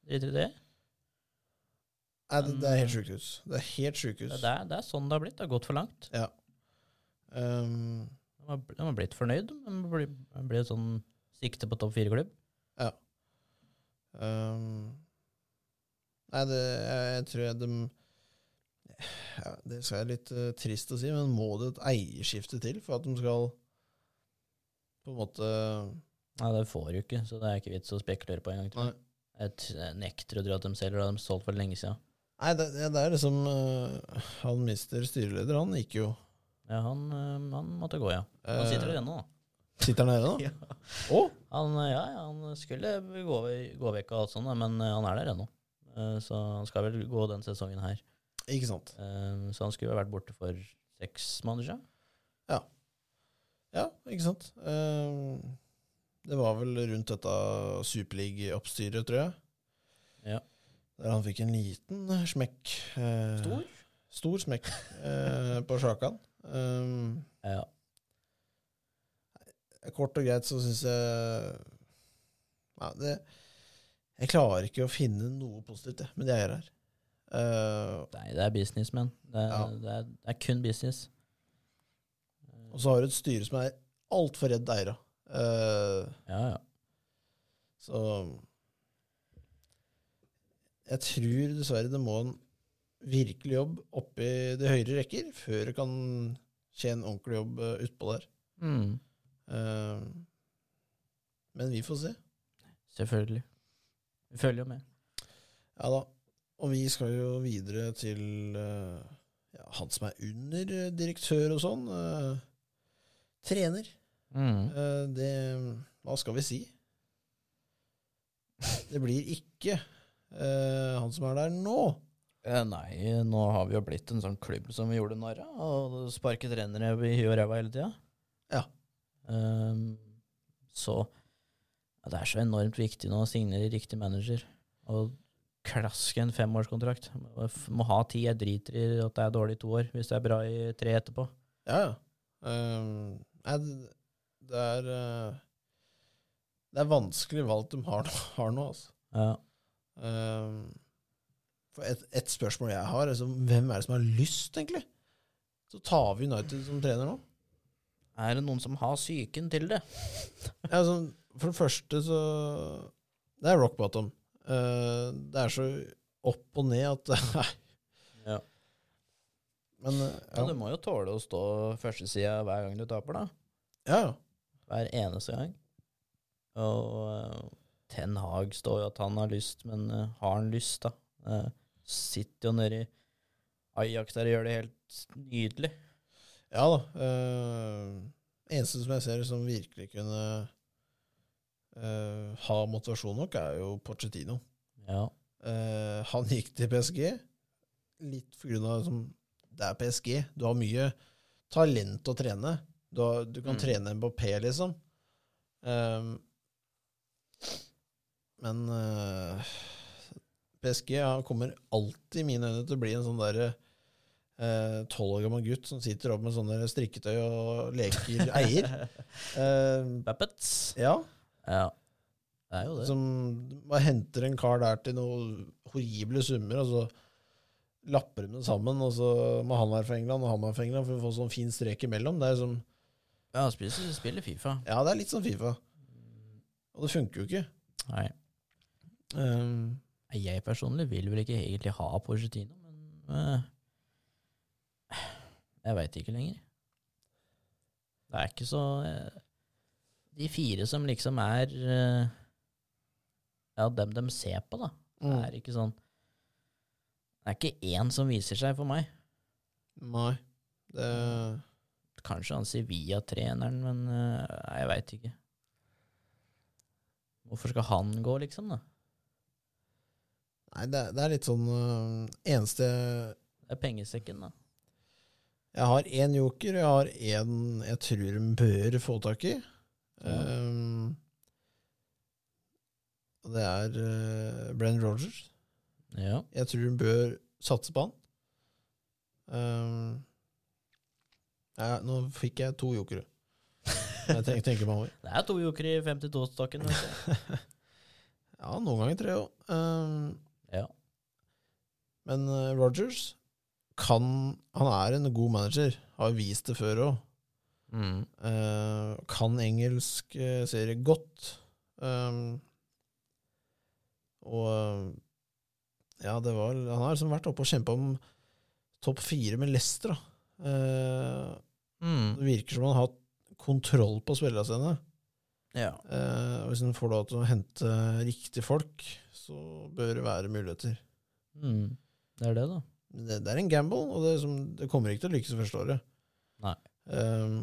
Driter i det. Nei, det, det er helt sjukehus. Det er helt sjukehus. Det er, det er sånn det har blitt. Det har gått for langt. Um, De har, de har blitt fornøyd. De blir, de blir sånn sikte på topp fire-klubb. um, nei, det, jeg, jeg tror jeg de ja, Det skal jeg litt eh, trist å si, men må det et eierskifte til for at de skal på en måte Nei, det får du ikke, så det er ikke vits å spekulere på engang. tror jeg. Nei, Jeg t- jeg eh, nekter å tro at de selger, det har de solgt for lenge siden. nei det, det er liksom eh, Han mister styreleder, han gikk jo. Ja, han, øhm, han måtte gå, ja. Han sitter der ennå, da. Eh, sitter han nede, Ja. da? Å? Han, øh, ja, ja, han skulle gå, gå vekk og alt sånt, da, men øh, han er der ennå. Eh, Så han skal vel gå den sesongen her. Ikke sant. Eh, Så han skulle jo vært borte for seks måneder siden. Ja, ikke sant. Um, det var vel rundt dette Superleague-oppstyret, tror jeg. Ja. Der han fikk en liten smekk. eh, Stor? Stor smekk eh, på sjakan. Um, Ja. kort og greit så syns jeg Nei, det Jeg klarer ikke å finne noe positivt, jeg, men jeg er her. Eh, Nei, det er business, men. Det, er- Ja. det, er- det er kun business. og så har du et styre som er altfor redd eiere. Eh, Ja, ja. Så jeg tror dessverre det må en virkelig jobb oppi de høyere rekker før det kan skje en ordentlig jobb eh, utpå der. Mm. Eh, Men vi får se. Selvfølgelig. Vi følger jo med. Ja da. Og vi skal jo videre til eh, ja, han som er under eh, direktør og sånn. eh, Trener. Mm. Eh, Det Hva skal vi si? Det blir ikke eh, han som er der nå. Eh, Nei, nå har vi jo blitt en sånn klubb som vi gjorde narr av, og sparket trenere i huet og ræva hele tida. Ja. Ehm, så ja, det er så enormt viktig nå å signere riktig manager. Og klaske en femårskontrakt. Må f- Må ha ti. Jeg driter i at det er dårlig i to år, hvis det er bra i tre etterpå. Ja, ja. Ehm, nei, det, det er eh, Det er vanskelig valg de har, nå- har nå, altså. Ja. Ehm, for et, et spørsmål jeg har, er liksom, hvem er det som har lyst, egentlig? Så tar vi United som trener nå. Er det noen som har psyken til det? Ja, altså, for det første så Det er rock bottom. Eh, det er så opp og ned at Nei. Ja. Men eh, Ja, du ja. må jo tåle å stå førstesida hver gang du taper, da. ja, ja. Hver eneste gang. Og eh, Ten Hag står jo at han har lyst, men eh, har han lyst, da? Eh, Sitter jo nede i Ajax der og gjør det helt nydelig. Ja da. Eh, eneste som jeg ser som virkelig kunne eh, ha motivasjon nok, er jo Pochettino. Ja. Eh, han gikk til PSG, litt på grunn av liksom, det er PSG. Du har mye talent å trene. Du, har, du kan Mm. trene Mbappé, liksom. Eh, men eh, PSG ja, kommer alltid i mine øyne til å bli en sånn derre eh, tolv år gammel gutt som sitter opp med sånne strikketøy og leker eier. Eh, Bappets. ja. Ja. Det er jo det. Som bare henter en kar der til noen horrible summer, og så lapper de det sammen, og så må han være fra England og han være fra England for å få sånn fin strek imellom. Det er, som, Ja, han spiller, spiller Fifa. ja, det er litt sånn Fifa. Og det funker jo ikke. Nei. Um, Ehm, Jeg personlig vil vel ikke egentlig ha Pochettino, men eh, Jeg veit ikke lenger. Det er ikke så eh, De fire som liksom er eh, Ja, dem de ser på, da. Det mm. er ikke sånn Det er ikke én som viser seg for meg. Nei. Det, Kanskje han Sevilla-treneren, men eh, nei, jeg veit ikke. Hvorfor skal han gå, liksom? da? nei, det, det er litt sånn øhm, Eneste Det er pengesekken, da. Jeg har én joker, jeg har én jeg tror de bør få tak i. Ja. Ehm, og det er uh, Brenn Rogers. Ja. Jeg tror hun bør satse på han. Ehm, ja, nå fikk jeg to jokere. Jeg tenker, tenker meg over. Det er to joker i 52-stokken. vet du. Ja, noen ganger tre òg. Ja. Ehm, men eh, Rogers kan Han er en god manager, har vist det før òg. Mm. Eh, kan engelsk eh, serie godt. Ehm, og eh, ja, det var Han har liksom vært oppe og kjempa om topp fire med Leicester, da. Eh, Mm. Det virker som han har hatt kontroll på spillerne sine. Ja. Eh, og hvis han får lov til å hente riktige folk, så bør det være muligheter. Mm. Det er det, da. Men Det, det er en gamble, og det, er som, det kommer ikke til å lykkes det første året. Nei. Ehm,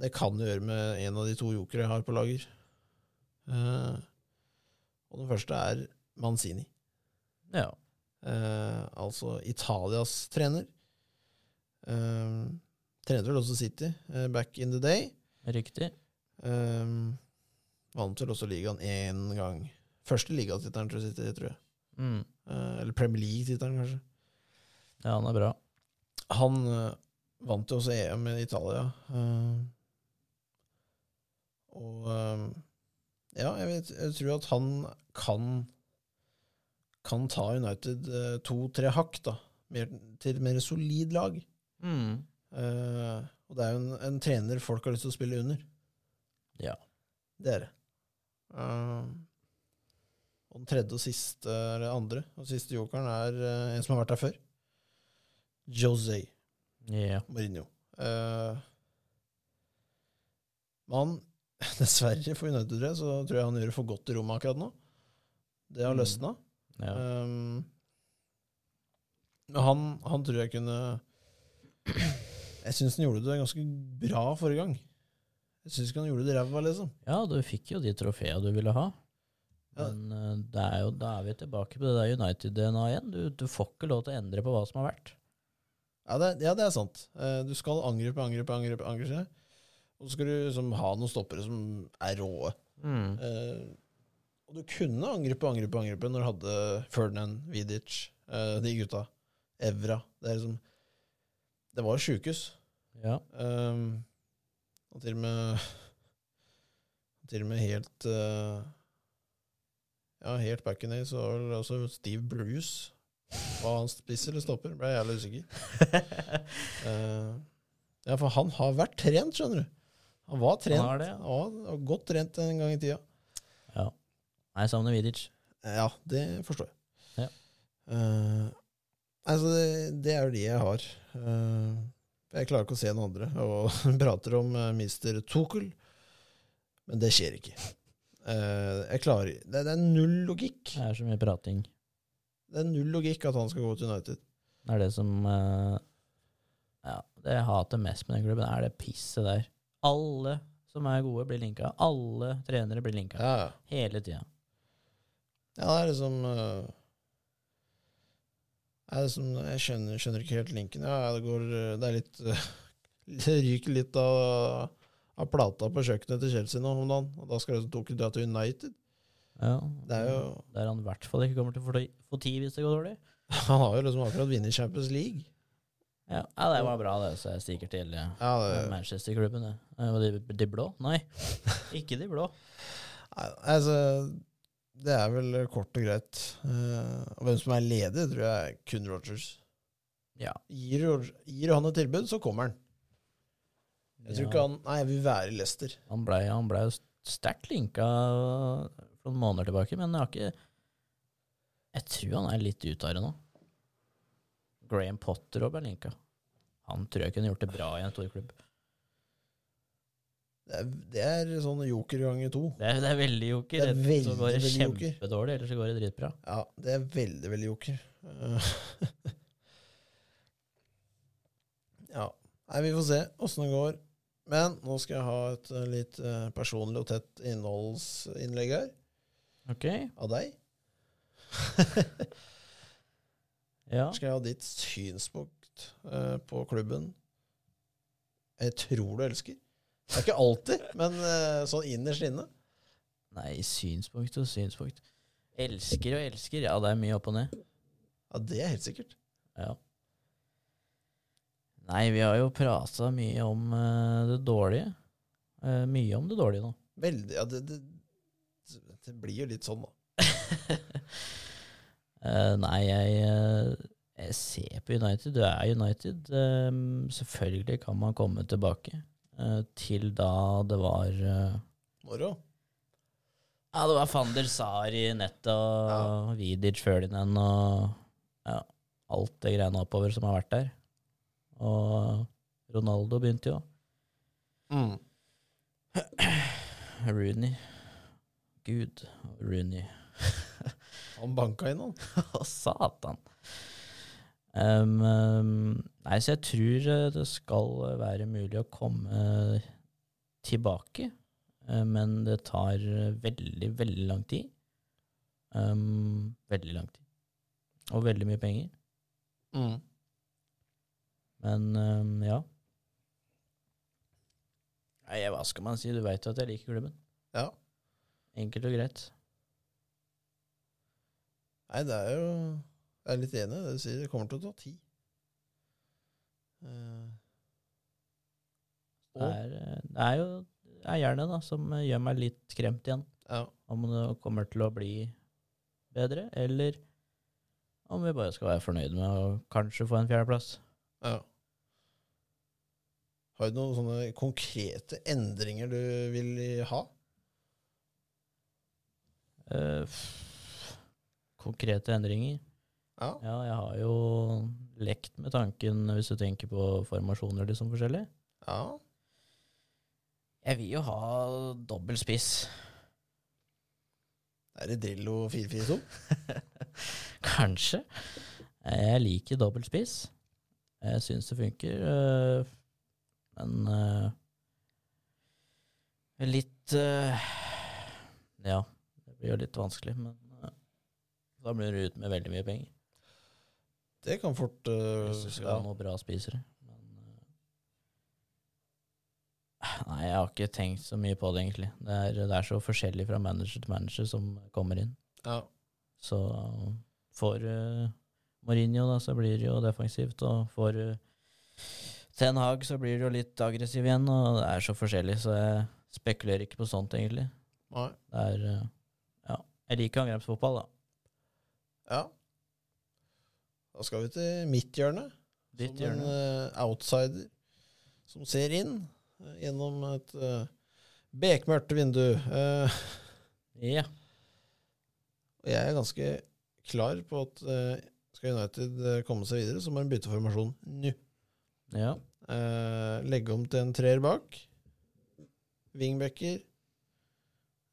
det kan det gjøre med en av de to jokere jeg har på lager. Eh, og den første er Manzini. Ja. Eh, altså Italias trener. Ehm, trente vel også City eh, back in the day. Riktig. Ehm, vant vel også ligaen én gang. Første ligatittelen til City, tror jeg. Mm. Eh, eller Premier League-tittelen, kanskje. Ja, han er bra. Han eh, vant jo også EM i Italia. eh, og eh, ja, jeg, vet, jeg tror at han kan kan ta United eh, to-tre hakk da, mer, til et mer solid lag. Mm. Eh, og det er jo en, en trener folk har lyst til å spille under. Ja. Det er det. Eh, og den tredje og siste, eller andre, og siste jokeren er eh, en som har vært der før. Jose. Ja. Mourinho. Eh, men han, dessverre for United, tror jeg, så tror jeg han gjør det for godt i Roma akkurat nå. Det har Mm. løsna. ja. Um, men han, han tror jeg kunne Jeg syns han gjorde det ganske bra forrige gang. Jeg syns ikke han gjorde det ræva, liksom. ja, du fikk jo de trofeene du ville ha. Ja. Men eh, det er jo, da er vi tilbake på det der United-DNA igjen. Du, du får ikke lov til å endre på hva som har vært. Ja, det, ja, det er sant. Eh, du skal angripe, angripe, angripe. angripe. Og så skal du liksom, ha noen stoppere som er rå. Mm. Eh, og du kunne angripe, angripe, angripe når du hadde Ferdinand, Vidic, eh, de gutta. Evra. Det er liksom Det var sjukehus. Ja. Um, og til og med Til og med helt eh, Ja, helt back in day så var vel også Steve Bruce Var han spiss eller stopper? Ble jeg jævlig usikker. Eh, ja, for han har vært trent, skjønner du. Han var trent. har det, ja. Han var godt trent en gang i tida. ja. Nei, savner Vidic. Ja, det forstår jeg. Ja. Eh, altså, det, det er jo de jeg har. Eh, jeg klarer ikke å se noen andre. Og prater om eh, Mr. Tuchel, men det skjer ikke. Eh, jeg klarer Det, det er null logikk. Det er så mye prating. Det er null logikk at han skal gå til United. Det er det som eh, Ja, det jeg hater mest med den klubben, er det pisset der. Alle som er gode, blir linka. Alle trenere blir linka. Ja, ja. Hele tida. Ja, det er liksom øh, er det som, Jeg skjønner, skjønner ikke helt linken. Ja, det går øh, Det er litt øh, Det ryker litt av, av plata på kjøkkenet til Chelsea nå om dagen, og da skal du ikke dra til United. Ja. Det er jo Der han i hvert fall ikke kommer til å få ti- få ti hvis det går dårlig. Han har jo liksom akkurat vunnet Champions League. Ja, ja det var bra, det. Så jeg stikker til eh, Ja, det, Manchester-klubben. det. Eh, var De, de blå? Nei, ikke de blå. nei, altså Det er vel kort og greit. Eh, og hvem som er ledig, tror jeg er kun Rogers. Ja. Gir, Rog- gir han et tilbud, så kommer han. Jeg tror Ja. ikke han Nei, jeg vil være i Leicester. Han blei han ble jo sterkt linka for noen måneder tilbake, men jeg har ikke Jeg tror han er litt ute av det nå. Graham Potter òg ble linka. Han tror jeg kunne gjort det bra i en stor klubb. Det er, det er sånn joker ganger to. Det er, det er veldig joker. Det er Enten så går det veldig, veldig joker. kjempedårlig, eller så går det dritbra. Ja, det er veldig, veldig joker. Eh, ja. Nei, vi får se åssen det går. Men nå skal jeg ha et eh, litt eh, personlig og tett innholdsinnlegg her, Ok, av deg. ja. Her skal jeg ha ditt synspunkt eh, på klubben jeg tror du elsker. Det er ikke alltid, men eh, sånn innerst inne. Nei, synspunkt og synspunkt. Elsker og elsker. Ja, det er mye opp og ned. Ja, det er helt sikkert. Ja. Nei, vi har jo prata mye om eh, det dårlige. Eh, mye om det dårlige nå. Veldig, ja, det, det, det blir jo litt sånn, da. Eh, nei, jeg, eh, jeg ser på United. Du er United. Eh, selvfølgelig kan man komme tilbake eh, til da det var eh, Moro. Ja, det var Van der Sar i nettet, og Vidic Ferdinand og ja, alt det greiene oppover som har vært der. Og Ronaldo begynte jo. Mm. Rooney. Gud, Rooney. Han banka inn, han. Å, satan. Ehm, ehm, nei, så jeg tror eh, det skal være mulig å komme eh, tilbake. eh, Men det tar eh, veldig, veldig lang tid. Ehm, veldig lang tid. Og veldig mye penger. Mm. Men ehm, ja. Nei, hva skal man si? Du veit jo at jeg liker klubben. Ja. Enkelt og greit. Nei, det er jo Jeg er litt enig i det du sier. Det kommer til å ta tid. Eh, Det og, er, eh, det er jo eierne da, som eh, gjør meg litt skremt igjen. ja, om det kommer til å bli bedre, eller om vi bare skal være fornøyd med å kanskje få en fjerdeplass. ja. Har du noen sånne konkrete endringer du vil ha? Eh, f- konkrete endringer. Ja. Ja, jeg har jo lekt med tanken, hvis du tenker på formasjoner liksom forskjellig. ja. Jeg vil jo ha dobbel spiss. Er det Drillo 442? Kanskje. Eh, Jeg liker dobbel spiss. Jeg syns det funker. eh, Men eh, litt eh, Ja, det blir jo litt vanskelig, men eh, da blir du ute med veldig mye penger. Det kan fort eh, Hvis du skal ja. ha noen bra spisere. Men, eh, nei, jeg har ikke tenkt så mye på det, egentlig. Det er, det er så forskjellig fra manager til manager som kommer inn. Ja. Så for eh, Mourinho, da, så blir det jo defensivt. Og for eh, Ten Hag, så blir det jo litt aggressiv igjen. Og det er så forskjellig, så jeg spekulerer ikke på sånt, egentlig. Nei. Det er eh, Ja. Jeg liker angrepsfotball, da. Ja. Da skal vi til mitt hjørne. Ditt som en hjørne. eh, outsider som ser inn eh, gjennom et eh, bekmørkt vindu. Eh, Ja. og jeg er ganske klar på at eh, skal United eh, komme seg videre, så må de bytte formasjon nå. ja. Eh, legge om til en treer bak. Wingbacker.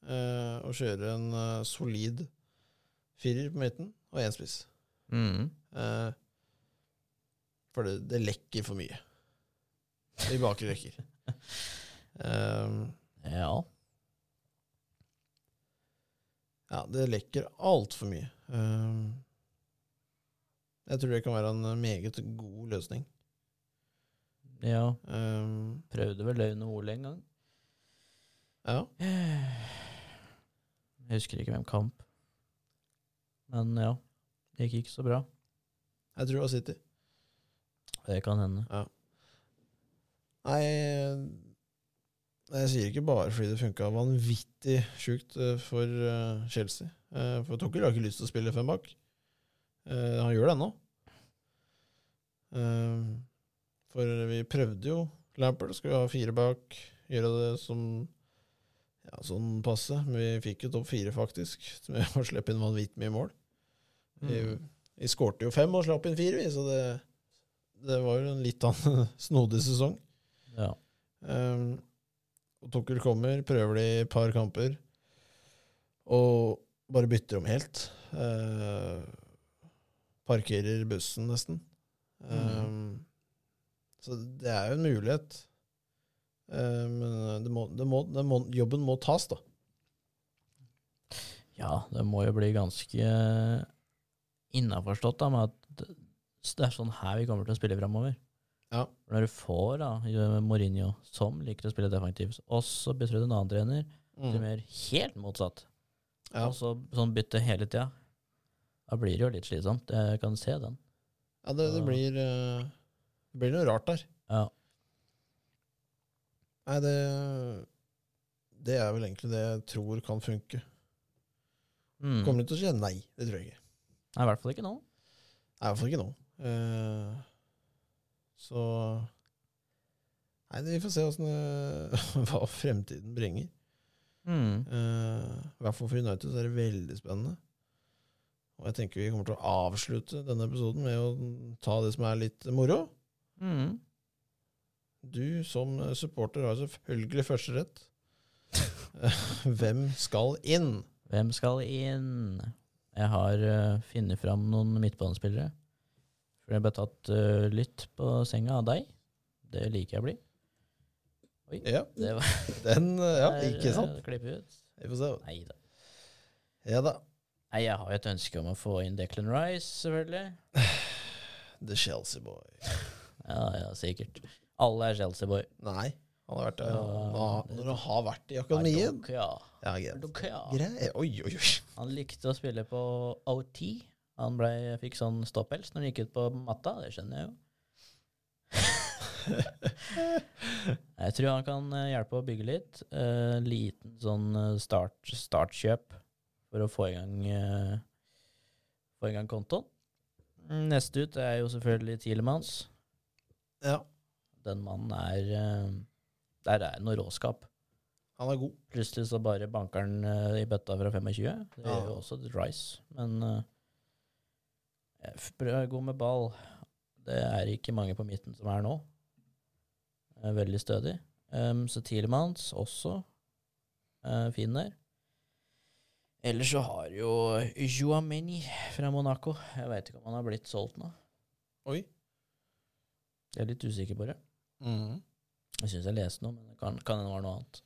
eh, og kjøre en eh, solid firer på midten og én spiss. Mm. Eh, for det, det lekker for mye i bakre rekker. Eh, Ja. ja, det lekker altfor mye. Eh, jeg tror det kan være en meget god løsning. ja. Eh, Prøvde vel det under OL en gang. ja. Jeg husker ikke hvem kamp. Men ja, det gikk ikke så bra. Jeg tror det var City. Det kan hende. Nei, eh, jeg sier ikke bare fordi det funka vanvittig sjukt eh, for eh, Chelsea. Eh, For Tokkel har ikke lyst til å spille fem bak. Eh, Han gjør det ennå. Eh, For vi prøvde jo Lampard skulle ha fire bak, gjøre det som ja, sånn passe. Men vi fikk jo topp fire, faktisk, med å slippe inn vanvittig mye mål. Vi, vi skårte jo fem og slapp inn fire, vi, så det, det var jo en litt annen snodig sesong. Ja. Um, og Tukkel kommer, prøver det i et par kamper, og bare bytter om helt. Eh, parkerer bussen, nesten. Um, Så det er jo en mulighet. Eh, men det må, det må, det må, jobben må tas, da. ja, det må jo bli ganske innaforstått da, med at det- det er sånn her vi kommer til å spille framover. Ja. Når du får da eh, Mourinho, som liker å spille defensivt, og så bytter du til en annen trener, som Mm. gjør helt motsatt, Ja. og så sånn bytte hele tida, da blir det jo litt slitsomt. Jeg kan se den. Ja, det, det blir eh, Det blir noe rart der. Ja. Nei, det Det er vel egentlig det jeg tror kan funke. Mm. Kommer du til å si nei? Det tror jeg ikke. Nei, I hvert fall ikke nå. Nei, i hvert fall ikke nå. Eh, så Nei, vi får se åssen det, hva fremtiden bringer. Mm. Eh, I hvert fall for United så er det veldig spennende. Og jeg tenker vi kommer til å avslutte denne episoden med å ta det som er litt moro. Mm. Du som supporter har selvfølgelig førsterett. Eh, Hvem skal inn? Hvem skal inn? Jeg har eh, funnet fram noen midtbanespillere. For jeg ble tatt eh, litt på senga av deg. Det liker jeg å bli. Ja, Det var, den eh, Ja, ikke sant? Klippe ut. Vi får se. Nei da. Ja da. Nei, jeg har jo et ønske om å få inn Declan Rice, selvfølgelig. The Chelsea Boy. Ja, ja, sikkert. Alle er Chelsea-boy. Nei. Han har vært der. Ja, Nå- det- Når han har vært i akademiet Ja, Ja, greit. ja. Grei. Oi, oi, oi. Han likte å spille på OT. Han ble, fikk sånn stopphels når han gikk ut på matta. Det skjønner jeg jo. jeg tror han kan eh, hjelpe å bygge litt. Eh, liten sånn eh, start, startkjøp for å få i gang, eh, få i gang kontoen. Neste ut er jo selvfølgelig Tilemans. Ja, Den mannen er eh, Der er det noe råskap. han er god. Plutselig så bare banker han eh, i bøtta fra 25. Det Ja. gjør jo også Rice, men eh, f- bra- god med ball. Det er ikke mange på midten som er nå. Eh, veldig stødig. Em, så Tilemans også eh, fin der. Ellers så har jo Joameni fra Monaco Jeg veit ikke om han har blitt solgt nå. Oi. Jeg er litt usikker på det. Mm. Jeg syns jeg leste noe, men det kan, kan hende det var noe annet.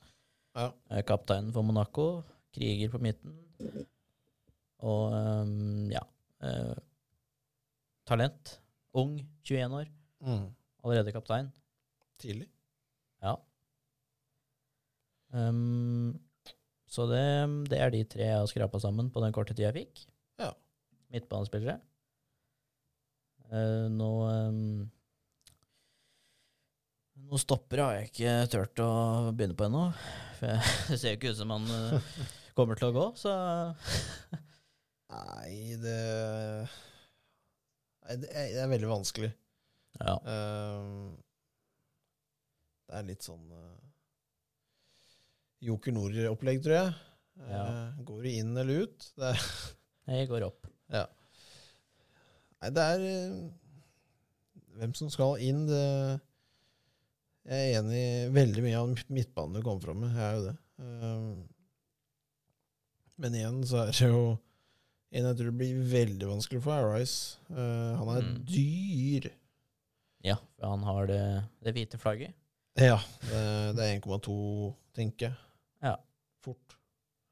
Ja. Eh, Kapteinen for Monaco, kriger på midten. Og ehm, ja eh, Talent. Ung, 21 år, Mm. allerede kaptein. Tidlig. Ehm, så det, det er de tre jeg har skrapa sammen på den korte tida jeg fikk. Ja. Midtbanespillere. Eh, nå ehm, Nå stopper har jeg ikke turt å begynne på ennå. For jeg, det ser jo ikke ut som han eh, kommer til å gå, så Nei, det Nei, det er, det er veldig vanskelig. ja. Ehm, det er litt sånn eh, Joker Nord-opplegg, tror jeg. Eh, Ja. går du inn eller ut? Det er, Jeg går opp. nei, det er eh, Hvem som skal inn, det Jeg er enig i veldig mye av midtbanen du kom Eh, fram med. Jeg er jo det. Ehm, Men igjen så er det jo En jeg tror det blir veldig vanskelig for, er Rice. Eh, han er Mm. dyr. Ja, for han har det, det hvite flagget. Ja, det, det er 1,2, tenker jeg. Ja. Fort.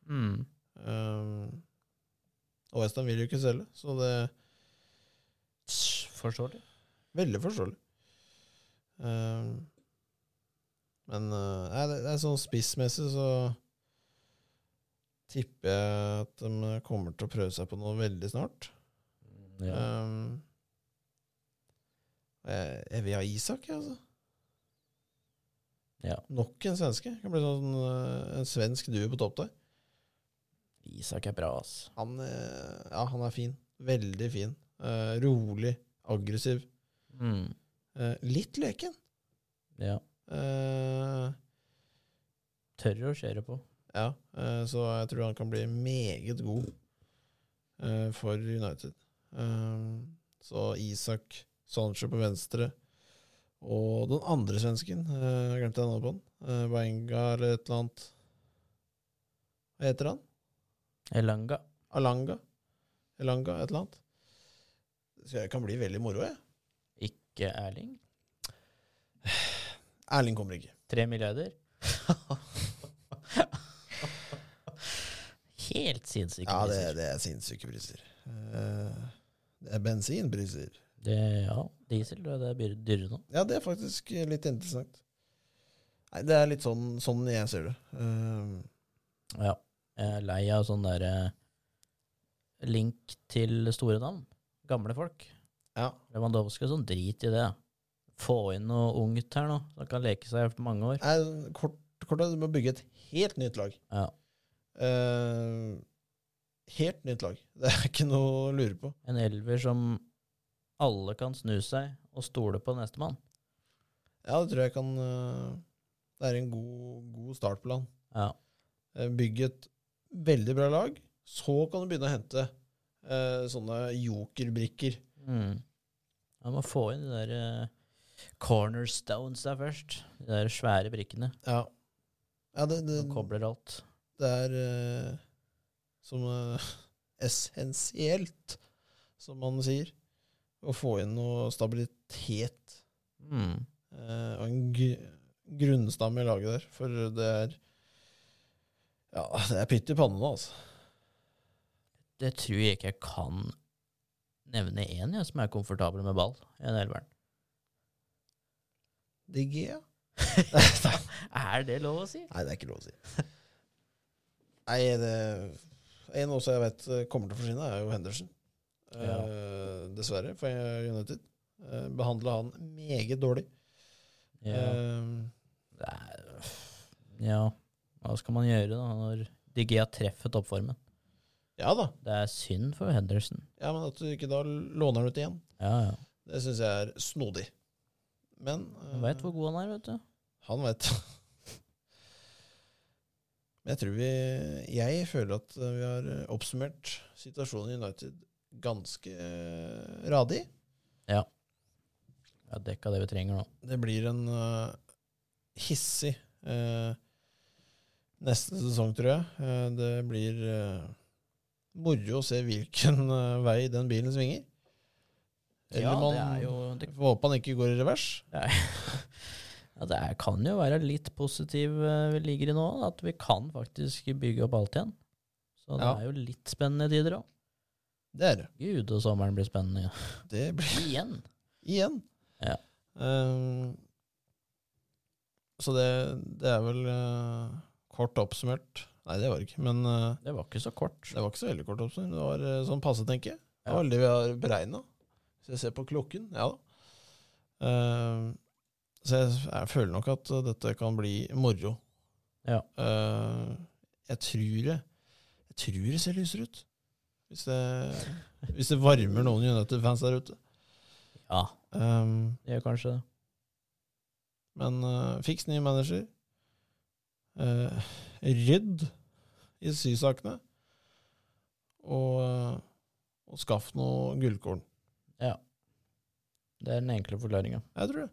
Mm. Um, og Westham vil jo ikke selge, så det er Forstår du? veldig forståelig. Um, men uh, nei, det, det er sånn spissmessig så tipper jeg at de kommer til å prøve seg på noe veldig snart. Ja. Um, jeg, jeg vil ha Isak, jeg, altså. Ja. Nok en svenske. Det kan bli sånn uh, en svensk duo på topp der. Isak er bra, ass. Han, eh, ja, han er fin. Veldig fin. Eh, rolig, aggressiv. Mm. Eh, litt leken. Ja. Eh, Tør å kjøre på. ja, eh, så jeg tror han kan bli meget god eh, for United. Eh, så Isak Sancho på venstre. Og den andre svensken, eh, jeg glemte navnet på han, eh, Wenger eller et eller annet. Hva heter han? Elanga. Alanga? Elanga, et eller annet. Så jeg kan bli veldig moro, jeg. Ikke Erling. Erling kommer ikke. Tre milliarder. Helt sinnssyke Ja, det, priser. det er sinnssyke priser. Eh, Det er bensinpriser. Det, ja, diesel det er dyr- dyrere nå. Ja, det er faktisk eh, litt interessant. Nei, det er litt sånn, sånn jeg ser det. Eh, Ja. Jeg er lei av sånn derre link til store navn. Gamle folk. Ja. Lewandowski og sånn, drit i det. Få inn noe ungt her nå, som kan leke seg for mange år. Nei, kort, kort er det må bygge et helt nytt lag. Ja. Eh, helt nytt lag. Det er ikke noe å lure på. En elver som alle kan snu seg og stole på nestemann. Ja, det tror jeg kan eh, Det er en god, god startplan. Ja. Eh, Bygg et veldig bra lag. Så kan du begynne å hente eh, sånne jokerbrikker. Mm. Man må få inn de der eh, cornerstones der først. De der svære brikkene Ja. ja det, det, som kobler alt. det er eh, som eh, essensielt, som man sier, å få inn noe stabilitet Mm. eh, og en gr grunnstamme i laget der. For det er Ja, det er pytt i pannen, altså. Det tror jeg ikke jeg kan nevne én jeg, som er komfortabel med ball i den elveren. Digg, ja. er det lov å si? Nei, det er ikke lov å si. Nei, det En også jeg vet eh, kommer til å forsvinne, er jo Henderson. Eh, dessverre, for eh, United. Uh, Behandla han meget dårlig. Ja. Eh, Det er, ja. Hva skal man gjøre da når Digea treffer toppformen? ja da. Det er synd for Henderson. Ja, Men at du ikke da låner den ut igjen, Ja, ja. det syns jeg er snodig. Men Han eh, veit hvor god han er, vet du. Han vet. Men jeg tror vi Jeg føler at vi har eh, oppsummert situasjonen i United ganske eh, radig. Jeg har dekka det vi trenger nå. Det blir en eh, hissig eh, neste sesong, tror jeg. Eh, det blir eh, moro å se hvilken eh, vei den bilen svinger. Eller Ja, man det er jo det, får håpe han ikke går i revers. ja, det er, kan jo være litt positiv eh, vi ligger i nå, at vi kan faktisk bygge opp alt igjen. Så det Ja. er jo litt spennende tider òg. Det er det. Gud, og sommeren blir spennende Det blir igjen. igjen. igjen. Ja. Eh, så det, det er vel eh, kort oppsummert. Nei, det var det ikke. Men eh, Det var ikke så kort. det var ikke så veldig kort oppsummert. Det var eh, sånn passe, tenker jeg. Det Ja. var det vi har beregna. Hvis jeg ser på klokken, ja da. Eh, så jeg, jeg føler nok at eh, dette kan bli moro. Ja. Eh, jeg tror det Jeg tror det ser lysere ut. Hvis det, hvis det varmer noen United-fans der ute. Ja, Um, det gjør kanskje det. Men eh, fiks ny manager. Eh, rydd i sysakene. Og, eh, og skaff noe gullkorn. Det er den enkle forklaringa. Jeg tror det.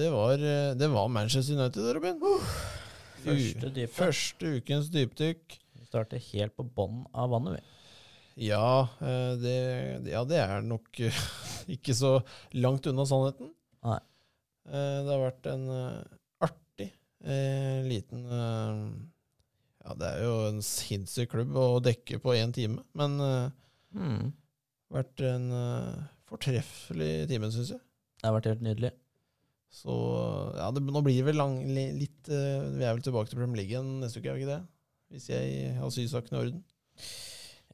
Det var, eh, det var Manchester United, Robin. U- Første dype. første ukens dypdykk. Vi starter helt på bånn av vannet, vi. Ja, eh, det, ja, det er nok eh, ikke så langt unna sannheten. Nei. Eh, Det har vært en eh, artig eh, liten eh, Ja, det er jo en sinnssyk klubb å dekke på én time, men eh, Hmm. vært en eh, fortreffelig time, syns jeg. Det har vært helt nydelig. Så ja, det, nå blir det vel lang, li, litt eh, Vi er vel tilbake til Premier League igjen neste uke, er vi ikke det? Hvis jeg har sysakene i orden.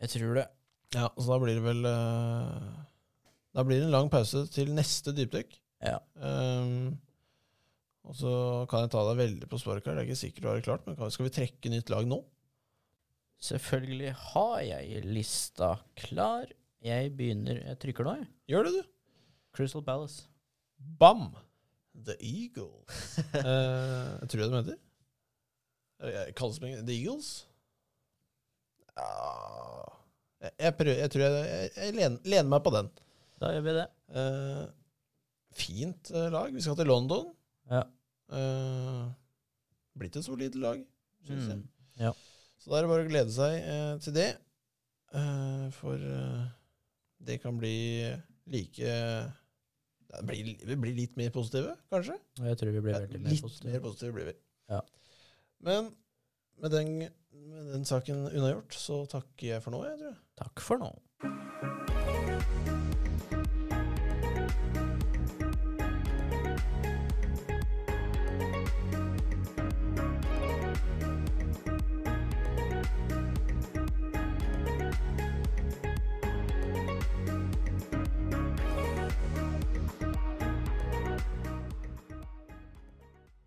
Jeg tror det. Ja, så da blir det vel eh, Da blir det en lang pause til neste dypdykk. Ja. Ehm, og så kan jeg ta deg veldig på sporet, Karl. Det er ikke sikkert du har det klart, men kan- skal vi trekke nytt lag nå? Selvfølgelig har jeg lista klar. Jeg begynner Jeg trykker nå, jeg. Gjør det, du. Crystal Palace. Bam! The Eagles. Eh, jeg tror jeg de heter. Eh, Kalles det The Eagles? Ja Jeg, jeg, prøver, jeg tror jeg, jeg, jeg lener, lener meg på den. Da gjør vi det. Eh, fint eh, lag. Vi skal til London. Ja. Eh, blitt et solid lag, syns jeg. Mm. Ja. Så da er det bare å glede seg eh, til det. Eh, for eh, det kan bli like det blir, Vi blir litt mer positive, kanskje? Og jeg tror vi blir Ja, veldig mer litt positive. mer positive blir vi. Ja. Men med den, med den saken unnagjort, så takker jeg for nå, jeg, tror jeg. Takk for nå.